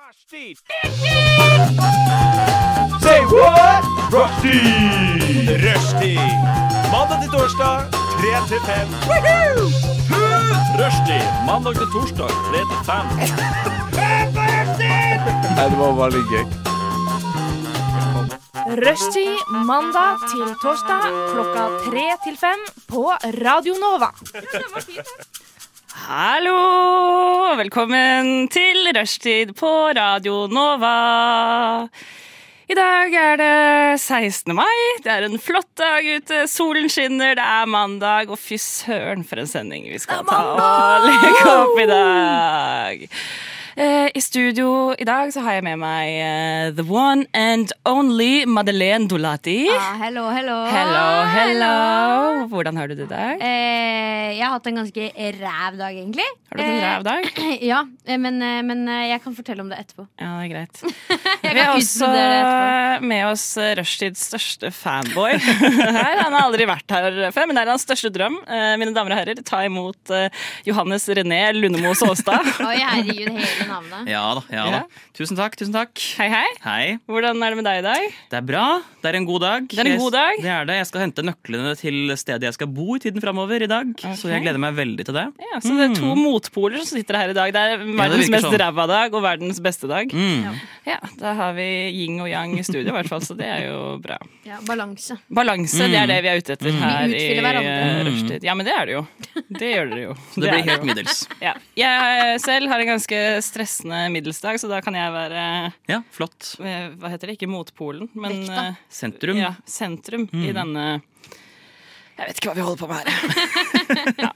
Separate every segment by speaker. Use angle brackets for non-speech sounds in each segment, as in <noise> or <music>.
Speaker 1: Rushdie! Say what? Rushdie! Rushdie. Mandag til torsdag, 3 til 5. Rushdie. Mandag til torsdag, 3 til 5.
Speaker 2: Rushtid mandag til torsdag klokka tre til fem på Radio Nova.
Speaker 3: Hallo! Velkommen til Rushtid på Radio Nova. I dag er det 16. mai. Det er en flott dag ute. Solen skinner, det er mandag. Og fy søren for en sending vi skal ta og legge opp i dag. Eh, I studio i dag så har jeg med meg eh, the one and only Madeleine Dolati.
Speaker 4: Ja, hello, hello.
Speaker 3: Hello, hello. Hvordan har du det i dag?
Speaker 4: Eh, jeg har hatt en ganske ræv dag, egentlig.
Speaker 3: Har du hatt en ræv dag?
Speaker 4: Eh, <clears throat> ja, eh, men, eh, men eh, jeg kan fortelle om det etterpå.
Speaker 3: Ja, det er <laughs> greit.
Speaker 4: Jeg
Speaker 3: Vi har
Speaker 4: kan
Speaker 3: også
Speaker 4: utbrodere det etterpå.
Speaker 3: med oss Rushtids største fanboy. <laughs> her, han har aldri vært her før, men det er hans største drøm. Eh, Mine damer og herrer, ta imot eh, Johannes René Lundemo Saastad.
Speaker 4: Oi, herregud, hele navnet.
Speaker 5: Ja da. ja da
Speaker 3: Ja.
Speaker 5: Tusen takk. tusen takk
Speaker 3: <laughs> Hei, hei.
Speaker 5: Hei.
Speaker 3: Hvordan er det med deg i dag?
Speaker 5: Det er bra. Det er en god dag.
Speaker 3: Det er en god dag.
Speaker 5: Jeg, det er det. jeg skal hente nøklene til stedet jeg skal bo i tiden framover i dag. Så jeg gleder meg veldig til det.
Speaker 3: Ja, så det er to motpoler som sitter her i dag. Det er verdens
Speaker 5: virker
Speaker 3: mest
Speaker 5: sånn.
Speaker 3: ræva dag og verdens beste dag.
Speaker 5: Mm.
Speaker 3: Ja, Da har vi yin og yang i studio, i hvert fall, så det er jo bra.
Speaker 4: Ja, balanse.
Speaker 3: Balanse, det
Speaker 5: Mm.
Speaker 3: er det vi er ute etter her i
Speaker 4: utfyller hverandre.
Speaker 3: eh, rushtid. Ja, men det er det jo. Det gjør dere jo.
Speaker 5: Så <laughs> det
Speaker 3: er
Speaker 5: blir
Speaker 3: jo.
Speaker 5: helt middels.
Speaker 3: Ja. Jeg selv har en ganske stressende middelsdag, så da kan jeg være
Speaker 5: Ja, Flott.
Speaker 3: eh, Hva heter det? Ikke motpolen, men
Speaker 4: Vekta.
Speaker 3: eh,
Speaker 5: Sentrum. Mm.
Speaker 3: Ja, sentrum i denne Jeg vet ikke hva vi holder på med her. ja.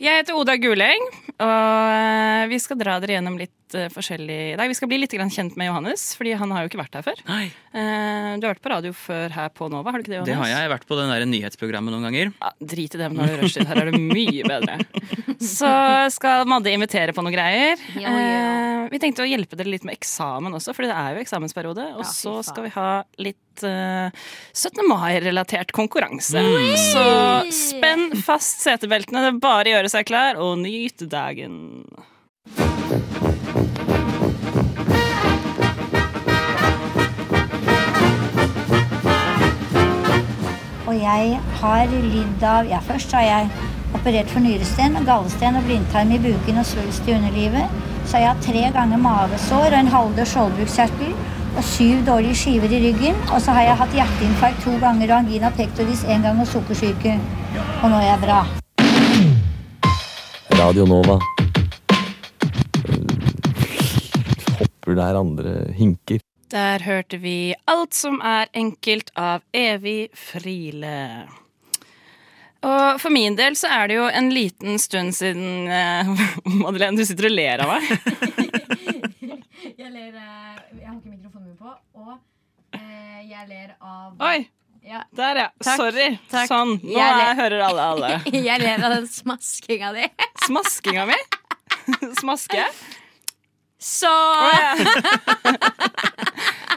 Speaker 3: Jeg heter Oda Guleng, og eh, vi skal dra dere gjennom litt eh, forskjellig i dag. Vi skal bli litt grann kjent med Johannes, fordi han har jo ikke vært her før.
Speaker 5: Nei,
Speaker 3: Eh, Du har vært på radio før her på Nova, har du ikke det? Johannes?
Speaker 5: det har jeg. jeg har vært på den der nyhetsprogrammet noen ganger.
Speaker 3: Ja, drit i det, men nå er det rushtid. Her er det mye bedre. Så skal Madde invitere på noen greier.
Speaker 4: Ja, ja.
Speaker 3: Eh, vi tenkte å hjelpe dere litt med eksamen også, for det er jo eksamensperiode. Og
Speaker 4: Ja, fy
Speaker 3: så
Speaker 4: faen.
Speaker 3: skal vi ha litt eh, 17. mai-relatert konkurranse. Så spenn fast setebeltene, det er bare å gjøre seg klar, og nyt dagen.
Speaker 6: Og jeg har lidd av Ja, først har jeg operert for nyresten, gallesten og blindtarm i buken og svulst i underlivet. Så har jeg hatt tre ganger mavesår og en halvdød skjoldbruskkjertel og syv dårlige skiver i ryggen. Og så har jeg hatt hjerteinfarkt to ganger og angina pectoris én gang og sukkersyke. Og nå er jeg bra.
Speaker 7: Radio Nova. Hopper der andre hinker.
Speaker 3: Der hørte vi Alt som er enkelt av Evig Friele. Og for min del så er det jo en liten stund siden eh, <laughs> Madeleine, du sitter og ler av meg.
Speaker 4: Jeg ler eh, Jeg har ikke mikrofonen min på, og eh, jeg ler av
Speaker 3: Oi, der ja.
Speaker 4: Takk,
Speaker 3: Sorry.
Speaker 4: takk.
Speaker 3: Sånn. Nå
Speaker 4: Jeg ler.
Speaker 3: er, hører alle alle.
Speaker 4: <laughs> Jeg ler av den smaskinga di.
Speaker 3: Smaskinga mi. <laughs> Smaske.
Speaker 4: Så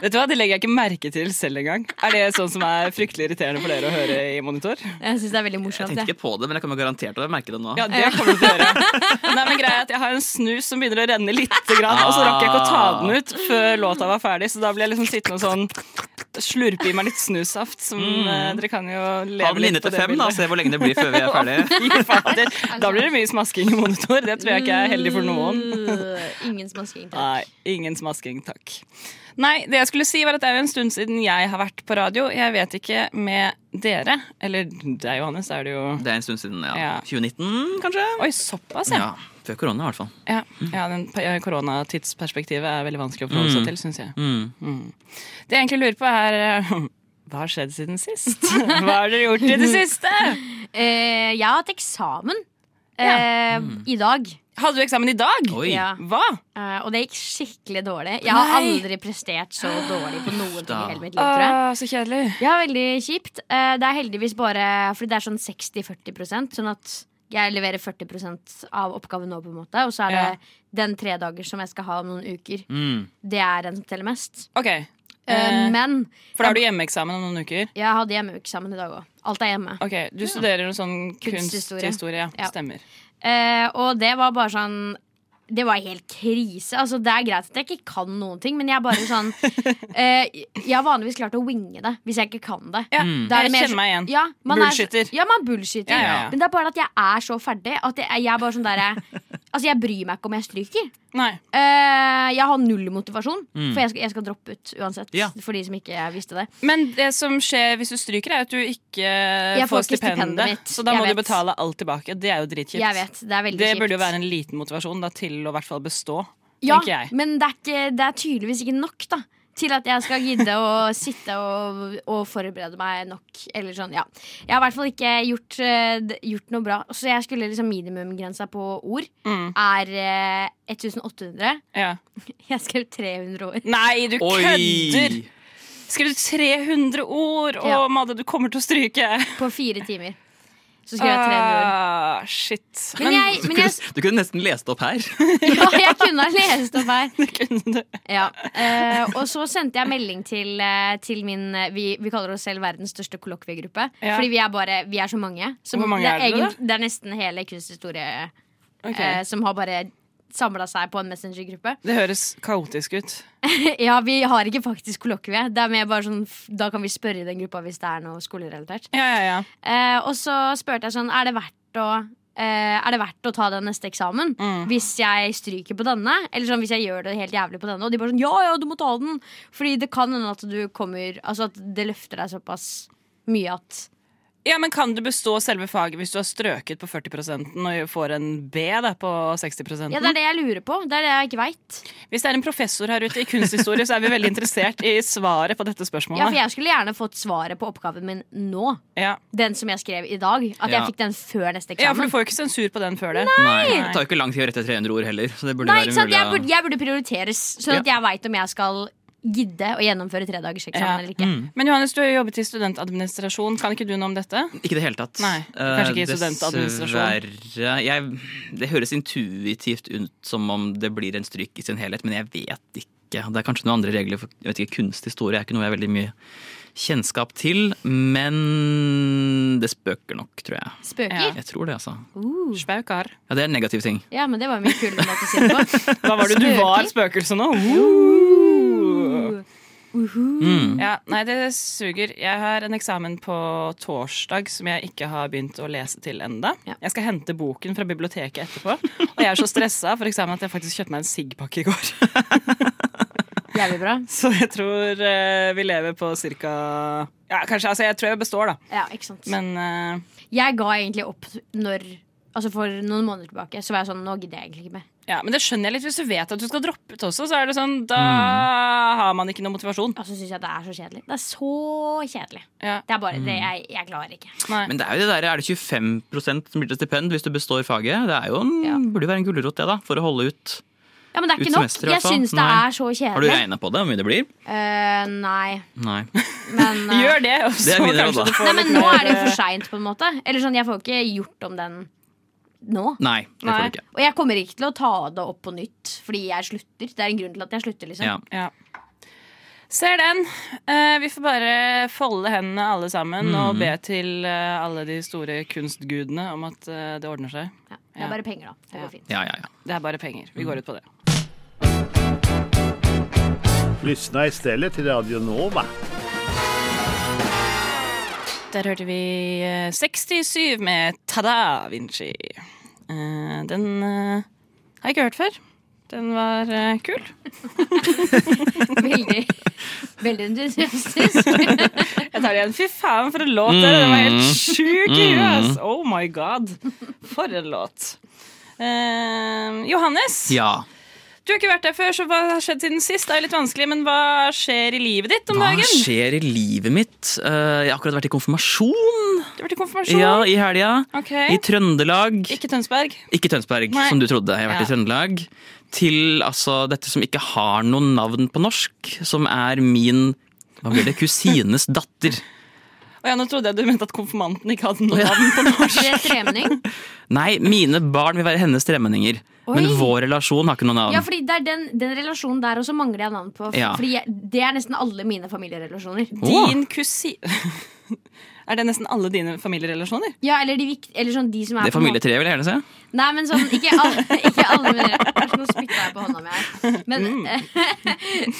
Speaker 3: Vet du hva, Det legger jeg ikke merke til selv engang. Er det sånn som er fryktelig irriterende for dere å høre i monitor?
Speaker 4: Jeg syns det er veldig
Speaker 5: Jeg
Speaker 4: morsomt.
Speaker 5: tenkte
Speaker 4: jeg.
Speaker 5: ikke på det, men jeg kommer garantert til å merke det nå.
Speaker 3: Ja, det kommer du til å gjøre. Nei, men greia er at Jeg har en snus som begynner å renne litt, grann, og så rakk jeg ikke å
Speaker 5: Ah.
Speaker 3: ta den ut før låta var ferdig. Så da ble jeg liksom sittende og sånn slurpe i meg litt snussaft. Som eh, Dere kan jo
Speaker 5: Ha
Speaker 3: leve
Speaker 5: Mm. den inne
Speaker 3: litt på
Speaker 5: til
Speaker 3: det
Speaker 5: fem, da.
Speaker 3: bildet. <laughs>
Speaker 5: Se hvor lenge det blir før vi er ferdige.
Speaker 3: Fy fader. Da blir det mye smasking i monitor. Det tror jeg ikke er heldig for noen.
Speaker 5: Mm.
Speaker 4: Mm. Ingen smasking. takk.
Speaker 3: Nei, ingen smasking, takk. Nei, det jeg skulle si var at det er jo en stund siden jeg har vært på radio. Jeg vet ikke med dere, eller deg, Johannes, er det jo
Speaker 5: Det er en stund siden.
Speaker 3: Ja.
Speaker 5: ja 2019, kanskje?
Speaker 3: Oi, såpass, ja.
Speaker 5: Ja, Før korona, i hvert fall.
Speaker 3: Ja, ja den pa- ja, koronatidsperspektivet er veldig vanskelig å forholde seg til, syns jeg.
Speaker 5: Mm.
Speaker 3: Det jeg egentlig lurer på, er eh, hva har skjedd siden sist? <laughs> Hva har dere gjort i det siste?
Speaker 4: Eh, jeg har hatt eksamen eh, i dag.
Speaker 3: Hadde du eksamen i dag?
Speaker 5: Oi.
Speaker 4: Ja.
Speaker 3: Hva?
Speaker 4: Eh, og det gikk skikkelig dårlig. Jeg har
Speaker 3: Nei.
Speaker 4: aldri prestert så dårlig på noen ting i
Speaker 5: Da.
Speaker 4: hele mitt liv. Tror jeg.
Speaker 3: så kjedelig.
Speaker 4: Ja, veldig kjipt. Eh, det er heldigvis bare Fordi det er sånn 60-40 sånn at jeg leverer 40 av oppgaven nå, på en måte. Og så er det
Speaker 3: Ja.
Speaker 4: den tre dager som jeg skal ha om noen uker.
Speaker 5: Mm.
Speaker 4: Det er den som teller mest.
Speaker 3: Ok,
Speaker 4: Eh,
Speaker 3: Eh,
Speaker 4: men
Speaker 3: For da har du hjemmeeksamen om noen uker.
Speaker 4: jeg hadde hjemmeeksamen i dag òg. Alt er hjemme.
Speaker 3: Ok, Du studerer noe sånn
Speaker 4: Kunsthistorie.
Speaker 3: kunsthistorie.
Speaker 4: Ja.
Speaker 3: Stemmer.
Speaker 4: Eh, og det var bare sånn det var helt krise. Altså, det er greit at jeg ikke kan noen ting, men jeg er bare sånn eh, Jeg har vanligvis klart å winge det hvis jeg ikke kan det. Mm.
Speaker 3: Ja,
Speaker 4: Da er
Speaker 3: jeg
Speaker 4: det mer
Speaker 3: kjenner
Speaker 4: så-
Speaker 3: meg igjen.
Speaker 4: Ja, man er så-
Speaker 3: Bullshitter.
Speaker 4: ja, man bullshitter.
Speaker 3: Ja, ja, ja.
Speaker 4: Men det er bare at jeg er så ferdig at jeg, jeg er bare sånn derre
Speaker 3: <laughs>
Speaker 4: Altså, jeg bryr meg ikke om jeg stryker.
Speaker 3: Nei.
Speaker 4: Eh, jeg har null motivasjon,
Speaker 3: Mm.
Speaker 4: for jeg skal, jeg skal droppe ut uansett.
Speaker 5: Ja.
Speaker 4: For de som ikke visste det.
Speaker 3: Men det som skjer hvis du stryker, er at du ikke
Speaker 4: får
Speaker 3: får
Speaker 4: ikke stipendet
Speaker 3: stipendet.
Speaker 4: mitt.
Speaker 3: Så da
Speaker 4: Jeg
Speaker 3: må du
Speaker 4: vet.
Speaker 3: betale alt tilbake. Det er jo dritkjipt.
Speaker 4: Jeg vet, Det er veldig
Speaker 3: Det
Speaker 4: kjipt.
Speaker 3: burde jo være en liten motivasjon da, til å i hvert fall bestå,
Speaker 4: Ja,
Speaker 3: tenker jeg.
Speaker 4: men det er, ikke, det er tydeligvis ikke nok da til at jeg skal gidde å sitte og, og forberede meg nok. Eller sånn, ja. Jeg har i hvert fall ikke gjort, eh, d- gjort noe bra. Så jeg skulle liksom minimumgrensa på ord
Speaker 3: Mm.
Speaker 4: er eh, 1800.
Speaker 3: Ja.
Speaker 4: Jeg skrev 300 ord.
Speaker 3: Nei, du kødder!
Speaker 5: Oi!
Speaker 3: Skrev du 300 ord? Å,
Speaker 4: Ja.
Speaker 3: Madde, du kommer til å stryke.
Speaker 4: På fire timer. Så skrev jeg 300 ord.
Speaker 3: Ah, shit.
Speaker 4: Men jeg, men jeg,
Speaker 5: Du kunne nesten lest opp her.
Speaker 4: <laughs> ja, jeg kunne ha lest opp her.
Speaker 3: <laughs> kunne du.
Speaker 4: Ja. eh, og så sendte jeg melding til, eh, til min eh, vi, vi kaller oss selv verdens største kollokviegruppe.
Speaker 3: Ja.
Speaker 4: Fordi vi er bare Vi er så mange. Så
Speaker 3: Hvor mange
Speaker 4: det,
Speaker 3: er dere,
Speaker 4: egent- det er nesten hele kunsthistorie
Speaker 3: Ok.
Speaker 4: eh, som har bare samla seg på en messengergruppe. <laughs>
Speaker 3: Det høres kaotisk ut.
Speaker 4: ja, vi har ikke faktisk kollokvie. Det er mer bare sånn f- Da kan vi spørre i den gruppa hvis det er noe skolerelatert.
Speaker 3: Ja, ja, ja.
Speaker 4: Eh, og så spurte jeg sånn Er det verdt å eh, er det verdt å ta den neste eksamen hvis jeg stryker på denne? Eller sånn hvis jeg gjør det helt jævlig på denne? Og de bare sånn Ja, ja, du må ta den! Fordi det kan hende at du kommer Altså at det løfter deg såpass mye at
Speaker 3: Ja, men Kan du bestå selve faget hvis du har strøket på 40 og får en B da, på 60
Speaker 4: Ja, det er det jeg lurer på. Det er det jeg ikke veit.
Speaker 3: Hvis det er en professor her ute i kunsthistorie, så er vi veldig interessert i svaret på dette
Speaker 4: Ja, for
Speaker 3: spørsmålet.
Speaker 4: jeg skulle gjerne fått svaret på oppgaven min nå.
Speaker 3: Ja,
Speaker 4: Den som jeg skrev i dag. At
Speaker 5: Ja.
Speaker 4: jeg fikk den før neste
Speaker 3: ja for
Speaker 4: eksamen.
Speaker 3: du får jo ikke sensur på den før det.
Speaker 5: Nei, Det tar jo ikke lang tid å rette 300 ord heller. Så det burde
Speaker 4: Nei,
Speaker 5: være
Speaker 4: ikke sant?
Speaker 5: mulig
Speaker 4: Jeg
Speaker 5: å-
Speaker 4: burde, jeg burde prioriteres, sånn at jeg veit om jeg skal gidde å gjennomføre tredagerseksamen
Speaker 3: Ja.
Speaker 4: eller ikke.
Speaker 5: Mm.
Speaker 3: Men Johannes, du har jo jobbet i studentadministrasjon. Kan ikke du noe om dette?
Speaker 5: Ikke i det hele tatt.
Speaker 3: Nei, kanskje ikke i
Speaker 5: Eh,
Speaker 3: studentadministrasjon.
Speaker 5: Dessverre. Jeg, det høres intuitivt ut som om det blir en stryk i sin helhet, men jeg vet ikke. Det er kanskje noen andre regler for jeg vet ikke, kunsthistorie. er ikke noe jeg har veldig mye kjennskap til, men det spøker nok, tror jeg.
Speaker 4: Spøker?
Speaker 5: Jeg tror det, altså.
Speaker 4: Uh.
Speaker 3: Spaukar.
Speaker 5: Ja, det er en negativ ting.
Speaker 4: Ja, men det var en mye kulere måte å si det
Speaker 5: <laughs>
Speaker 4: på.
Speaker 3: Da var du du var spøkelse nå. Uh.
Speaker 5: Mm.
Speaker 3: Ja, nei, det suger. Jeg har en eksamen på torsdag som jeg ikke har begynt å lese til enda.
Speaker 4: Ja.
Speaker 3: Jeg skal hente boken fra biblioteket etterpå. Og jeg er så stressa for eksamen at jeg faktisk kjøpte meg en siggpakke i går. <laughs>
Speaker 4: Jævlig bra.
Speaker 3: Så jeg tror eh, vi lever på cirka Ja, kanskje. Altså, jeg tror jeg består, da.
Speaker 4: Ja, ikke sant.
Speaker 3: Men eh,
Speaker 4: jeg ga egentlig opp når Altså For noen måneder tilbake Så var jeg sånn Nå gidder jeg egentlig ikke mer.
Speaker 3: Ja, men det skjønner jeg litt hvis du vet at du skal droppe ut også. Så er det sånn, Da
Speaker 5: Mm.
Speaker 3: har man ikke noe motivasjon.
Speaker 4: Og så syns jeg det er så kjedelig. Det er så kjedelig.
Speaker 3: Ja.
Speaker 4: Det er bare
Speaker 5: Mm.
Speaker 4: det jeg, jeg klarer ikke.
Speaker 3: Nei.
Speaker 5: Men det er jo det der, er det 25 som blir til stipend hvis du består faget? Det er jo en,
Speaker 4: Ja.
Speaker 5: burde jo være en gulrot, det, da, for å holde ut.
Speaker 4: Ja, Men det er
Speaker 5: Ut
Speaker 4: ikke nok.
Speaker 5: semesteret, i hvert
Speaker 4: Jeg
Speaker 5: fall.
Speaker 4: syns det
Speaker 5: Nei.
Speaker 4: er så
Speaker 5: Har du
Speaker 4: kjedelig.
Speaker 5: regna på det, hvor mye det blir?
Speaker 4: Eh, nei,
Speaker 5: Nei.
Speaker 4: men
Speaker 5: <laughs>
Speaker 4: eh,
Speaker 3: Gjør det, og så
Speaker 5: Det er mine råd,
Speaker 3: kanskje
Speaker 5: da.
Speaker 3: du får
Speaker 4: Nei, men
Speaker 3: litt
Speaker 4: nå
Speaker 3: mer,
Speaker 4: er det jo
Speaker 3: eh,
Speaker 4: for seint, på en måte. Eller sånn, Jeg får ikke gjort om den nå.
Speaker 5: Nei, det får
Speaker 3: Nei.
Speaker 5: du ikke.
Speaker 4: Og jeg kommer ikke til å ta det opp på nytt fordi jeg slutter. Det er en grunn til at jeg slutter. liksom
Speaker 5: Ja.
Speaker 3: Ja. Ser den. Eh, vi får bare folde hendene alle sammen og be til eh, alle de store kunstgudene om at eh, det ordner seg.
Speaker 4: Ja, Det er bare penger, da. Det går fint.
Speaker 5: Ja, ja, ja.
Speaker 3: Det er bare penger. Vi går ut på det.
Speaker 8: Lyssna istället till Radio Nova.
Speaker 3: Der hørte vi eh, 67 med Tada Vinci. Eh, den eh, har jeg ikke hørt før. Den var eh, kul.
Speaker 4: Veldig,
Speaker 5: <laughs>
Speaker 4: veldig entusiastisk.
Speaker 3: Jeg tar det igjen. Fy faen, for en låt! det er. Den var helt sjuk i huet! ass. Oh my god. For en låt. Eh, Johannes,
Speaker 5: ja.
Speaker 3: du har ikke vært der før, så hva har skjedd siden sist? Det er jo litt vanskelig, men hva skjer i livet ditt om
Speaker 5: Hva
Speaker 3: dagen?
Speaker 5: skjer i livet mitt? Eh, jeg har akkurat vært i konfirmasjon
Speaker 3: Du har vært i konfirmasjon.
Speaker 5: ja, i helga.
Speaker 3: Ok.
Speaker 5: I Trøndelag.
Speaker 3: Ikke Tønsberg.
Speaker 5: Ikke Tønsberg,
Speaker 3: Nei.
Speaker 5: som du trodde. Jeg har vært
Speaker 3: Ja.
Speaker 5: i Trøndelag. Til altså, dette som ikke har noe navn på norsk, som er min hva blir det, kusines datter.
Speaker 3: Og ja, nå trodde jeg du mente at konfirmanten ikke hadde noe navn på norsk.
Speaker 4: Blir det tremning?
Speaker 5: Nei, mine barn vil være hennes tremenninger. Men
Speaker 4: Oi.
Speaker 5: vår relasjon har ikke noe navn.
Speaker 4: Ja, fordi det er den, den relasjonen der også mangler jeg navn på.
Speaker 5: Ja.
Speaker 4: Fordi jeg, Det er nesten alle mine familierelasjoner.
Speaker 5: Åh.
Speaker 3: Din kusin <laughs> Er det nesten alle dine familierelasjoner?
Speaker 4: Ja, eller de, vikt- eller sånn de som er
Speaker 5: Det
Speaker 4: på en måte-
Speaker 5: familietreet vil jeg gjerne se.
Speaker 4: Nei, men sånn, ikke alle, <laughs> ikke alle mine relasjoner. Nå spytta jeg på hånda mi her. Men
Speaker 5: Mm.
Speaker 4: <laughs>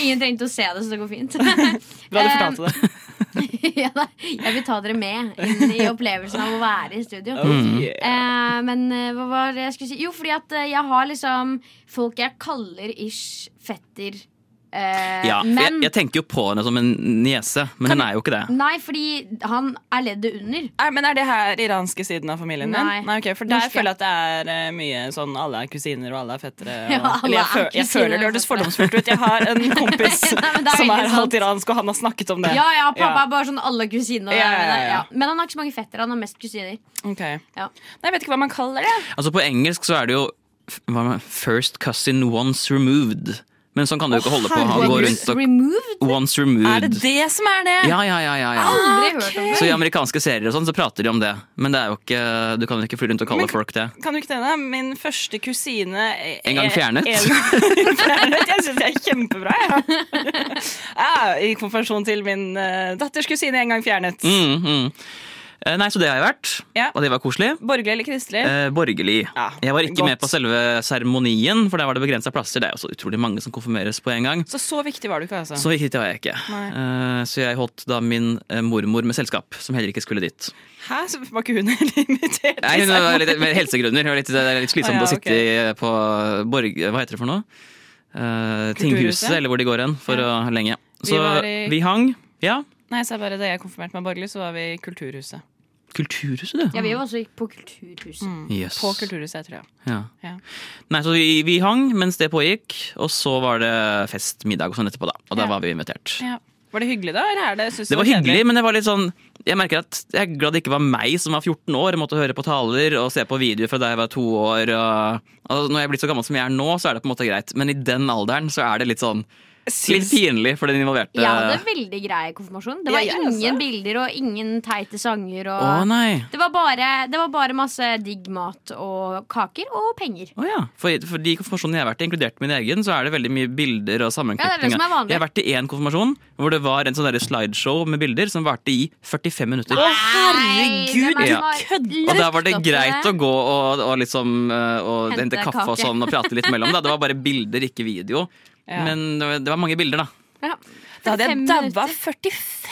Speaker 4: ingen trengte å se det, så det går fint. <laughs>
Speaker 3: Bra du
Speaker 4: Eh,
Speaker 3: fortalte
Speaker 4: <laughs>
Speaker 3: det.
Speaker 4: ja, da, jeg vil ta dere med inn i opplevelsen av å være i studio.
Speaker 5: Mm.
Speaker 4: Eh, men eh, hva var det jeg skulle si? Jo, fordi at eh, jeg har liksom folk jeg kaller ish fetter. eh,
Speaker 5: Ja, jeg,
Speaker 4: men
Speaker 5: jeg tenker jo på henne som en niese, men hun er jo ikke det.
Speaker 4: Nei, fordi han er leddet under.
Speaker 3: Er, men er det her iranske siden av familien din?
Speaker 4: Nei.
Speaker 3: Nei, ok, For der
Speaker 4: Norske.
Speaker 3: føler jeg at det er eh, mye sånn alle er kusiner og alle er fettere. Og,
Speaker 4: Ja, alle
Speaker 3: eller jeg,
Speaker 4: er
Speaker 3: føl, jeg
Speaker 4: kusiner
Speaker 3: føler det
Speaker 4: og
Speaker 3: hørtes
Speaker 4: fettere.
Speaker 3: fordomsfullt ut. Jeg har
Speaker 4: <laughs>
Speaker 3: en kompis
Speaker 4: Nei, men det er
Speaker 3: som
Speaker 4: veldig
Speaker 3: er
Speaker 4: sant.
Speaker 3: halvt iransk, og han har snakket om det.
Speaker 4: Ja, ja, pappa er bare sånn alle kusiner. og
Speaker 3: Ja, ja, ja,
Speaker 4: det-
Speaker 3: ja.
Speaker 4: Men han har ikke så mange fettere. Han har mest kusiner.
Speaker 3: Ok.
Speaker 4: Ja.
Speaker 3: Nei, jeg vet ikke hva man kaller det.
Speaker 5: Altså På engelsk så er det jo f- hva med, First cousin once removed. Men sånn kan du jo ikke holde på. Han går rundt og
Speaker 4: Removed?
Speaker 5: Once
Speaker 3: Er det Ah,
Speaker 5: removed.
Speaker 3: det som er det?
Speaker 5: Ja, ja, ja, ja, ja.
Speaker 4: Aldri hørt om det.
Speaker 5: Så I amerikanske serier og sånn så prater de om det, men det er jo ikke, du kan jo ikke fly rundt og kalle
Speaker 3: Men-
Speaker 5: folk det.
Speaker 3: Kan du ikke det? Min første kusine er-
Speaker 5: En gang fjernet.
Speaker 3: En gang fjernet. Jeg syns det er kjempebra. Ja. Ja, I konfirmasjon til min eh, datters kusine en gang fjernet.
Speaker 5: Mm, mm. Eh, Nei, så det har jeg vært,
Speaker 3: Ja.
Speaker 5: og det var koselig.
Speaker 3: Borgerlig eller kristelig?
Speaker 5: Eh, borgerlig.
Speaker 3: Ja,
Speaker 5: jeg var ikke
Speaker 3: godt.
Speaker 5: med på selve seremonien, for der var det begrensa plasser. Det er jo så utrolig mange som konfirmeres på en gang.
Speaker 3: Så så viktig var du ikke, altså.
Speaker 5: Så hit var jeg ikke. Eh, så jeg holdt da min eh, mormor med selskap, som heller ikke skulle dit.
Speaker 3: Hæ, så var ikke hun <laughs> heller invitert?
Speaker 5: Nei, hun var litt, med helsegrunner. Hun var litt, det er litt slitsomt
Speaker 3: Å, ja,
Speaker 5: å sitte i- på borg... Hva heter det for noe? Eh, tinghuset, eller hvor de går hen, for å lenge.
Speaker 3: Vi
Speaker 5: Så
Speaker 3: var
Speaker 5: vi,
Speaker 3: i-
Speaker 5: hang. Ja.
Speaker 3: Nei, så er bare Da jeg konfirmerte meg borgerlig, så var vi i Kulturhuset.
Speaker 5: Kulturhuset, du.
Speaker 4: Ja, vi var også på Kulturhuset.
Speaker 5: Yes.
Speaker 3: På Kulturhuset, jeg tror jeg.
Speaker 5: Ja.
Speaker 3: Ja.
Speaker 5: Nei, så vi, vi hang mens det pågikk, og så var det fest, middag og sånn etterpå, da. Og da
Speaker 3: Ja.
Speaker 5: var vi invitert.
Speaker 3: Ja. Var det hyggelig, da? Eller er det, synes du
Speaker 5: Det var hyggelig,
Speaker 3: kjedelig?
Speaker 5: men jeg var litt sånn Jeg merker at jeg er glad det ikke var meg som var 14 år og måtte høre på taler og se på videoer fra da jeg var to år. Og, og når jeg er blitt så gammel som jeg er nå, så er det på en måte greit. Men i den alderen så er det litt sånn Litt
Speaker 3: Syns-
Speaker 5: pinlig for den involverte.
Speaker 4: Jeg hadde veldig grei konfirmasjon. Det var
Speaker 3: Ja, jeg
Speaker 4: ingen
Speaker 3: også.
Speaker 4: bilder og ingen teite sanger.
Speaker 5: Å
Speaker 4: Og
Speaker 5: nei.
Speaker 4: det, var bare, det var bare masse digg mat og kaker og penger.
Speaker 5: Å ja. For, for de konfirmasjonene jeg har vært i, inkludert min egen, så er det veldig mye bilder
Speaker 4: Ja, det er
Speaker 5: og
Speaker 4: det
Speaker 5: sammenklipninger.
Speaker 4: som er vanlig.
Speaker 5: jeg har vært i én konfirmasjon hvor det var en sånn derre slideshow med bilder som varte i 45 minutter.
Speaker 3: herregud,
Speaker 5: du Og da var det greit å gå og, og liksom eh, og
Speaker 4: Hente
Speaker 5: hente, kaffe og
Speaker 4: kake.
Speaker 5: sånn og prate litt mellom. Da. Det
Speaker 3: <laughs>
Speaker 5: var bare bilder, ikke video.
Speaker 3: Ja.
Speaker 5: Men det var- det var mange bilder, da.
Speaker 4: ja.
Speaker 3: Da hadde jeg
Speaker 4: 45
Speaker 3: daua
Speaker 4: minutter.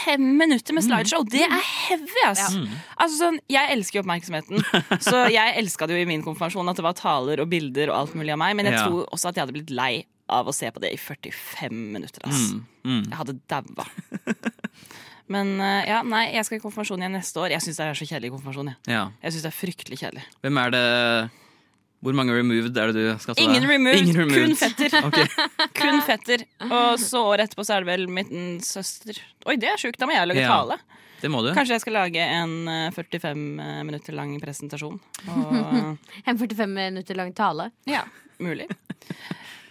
Speaker 3: 45 minutter med slideshow. Det er heavy, ass!
Speaker 5: Mm.
Speaker 3: Altså, sånn, jeg elsker jo oppmerksomheten,
Speaker 5: <laughs>
Speaker 3: så jeg elska det jo i min konfirmasjon at det var taler og bilder og alt mulig av meg, men jeg
Speaker 5: Ja.
Speaker 3: tror også at jeg hadde blitt lei av å se på det i 45 minutter, ass.
Speaker 5: Mm.
Speaker 3: Jeg hadde daua.
Speaker 5: <laughs>
Speaker 3: Men eh, ja, nei, jeg skal i konfirmasjon igjen neste år. Jeg syns det er så kjedelig konfirmasjon. Jeg,
Speaker 5: Ja.
Speaker 3: jeg synes det er fryktelig kjedelig.
Speaker 5: Hvem er det Hvor mange removed er det du skal ta
Speaker 3: Ingen removed,
Speaker 5: Ingen
Speaker 3: kun fetter.
Speaker 5: <laughs> Ok.
Speaker 3: Kun fetter. Og så året etterpå så er det vel min søster. Oi, det er sjukt. Da må jeg lage
Speaker 5: Ja.
Speaker 3: tale.
Speaker 5: Det må du.
Speaker 3: Kanskje jeg skal lage en eh, 45 minutter lang presentasjon. Og eh,
Speaker 4: En 45 minutter lang tale.
Speaker 3: ja, mulig.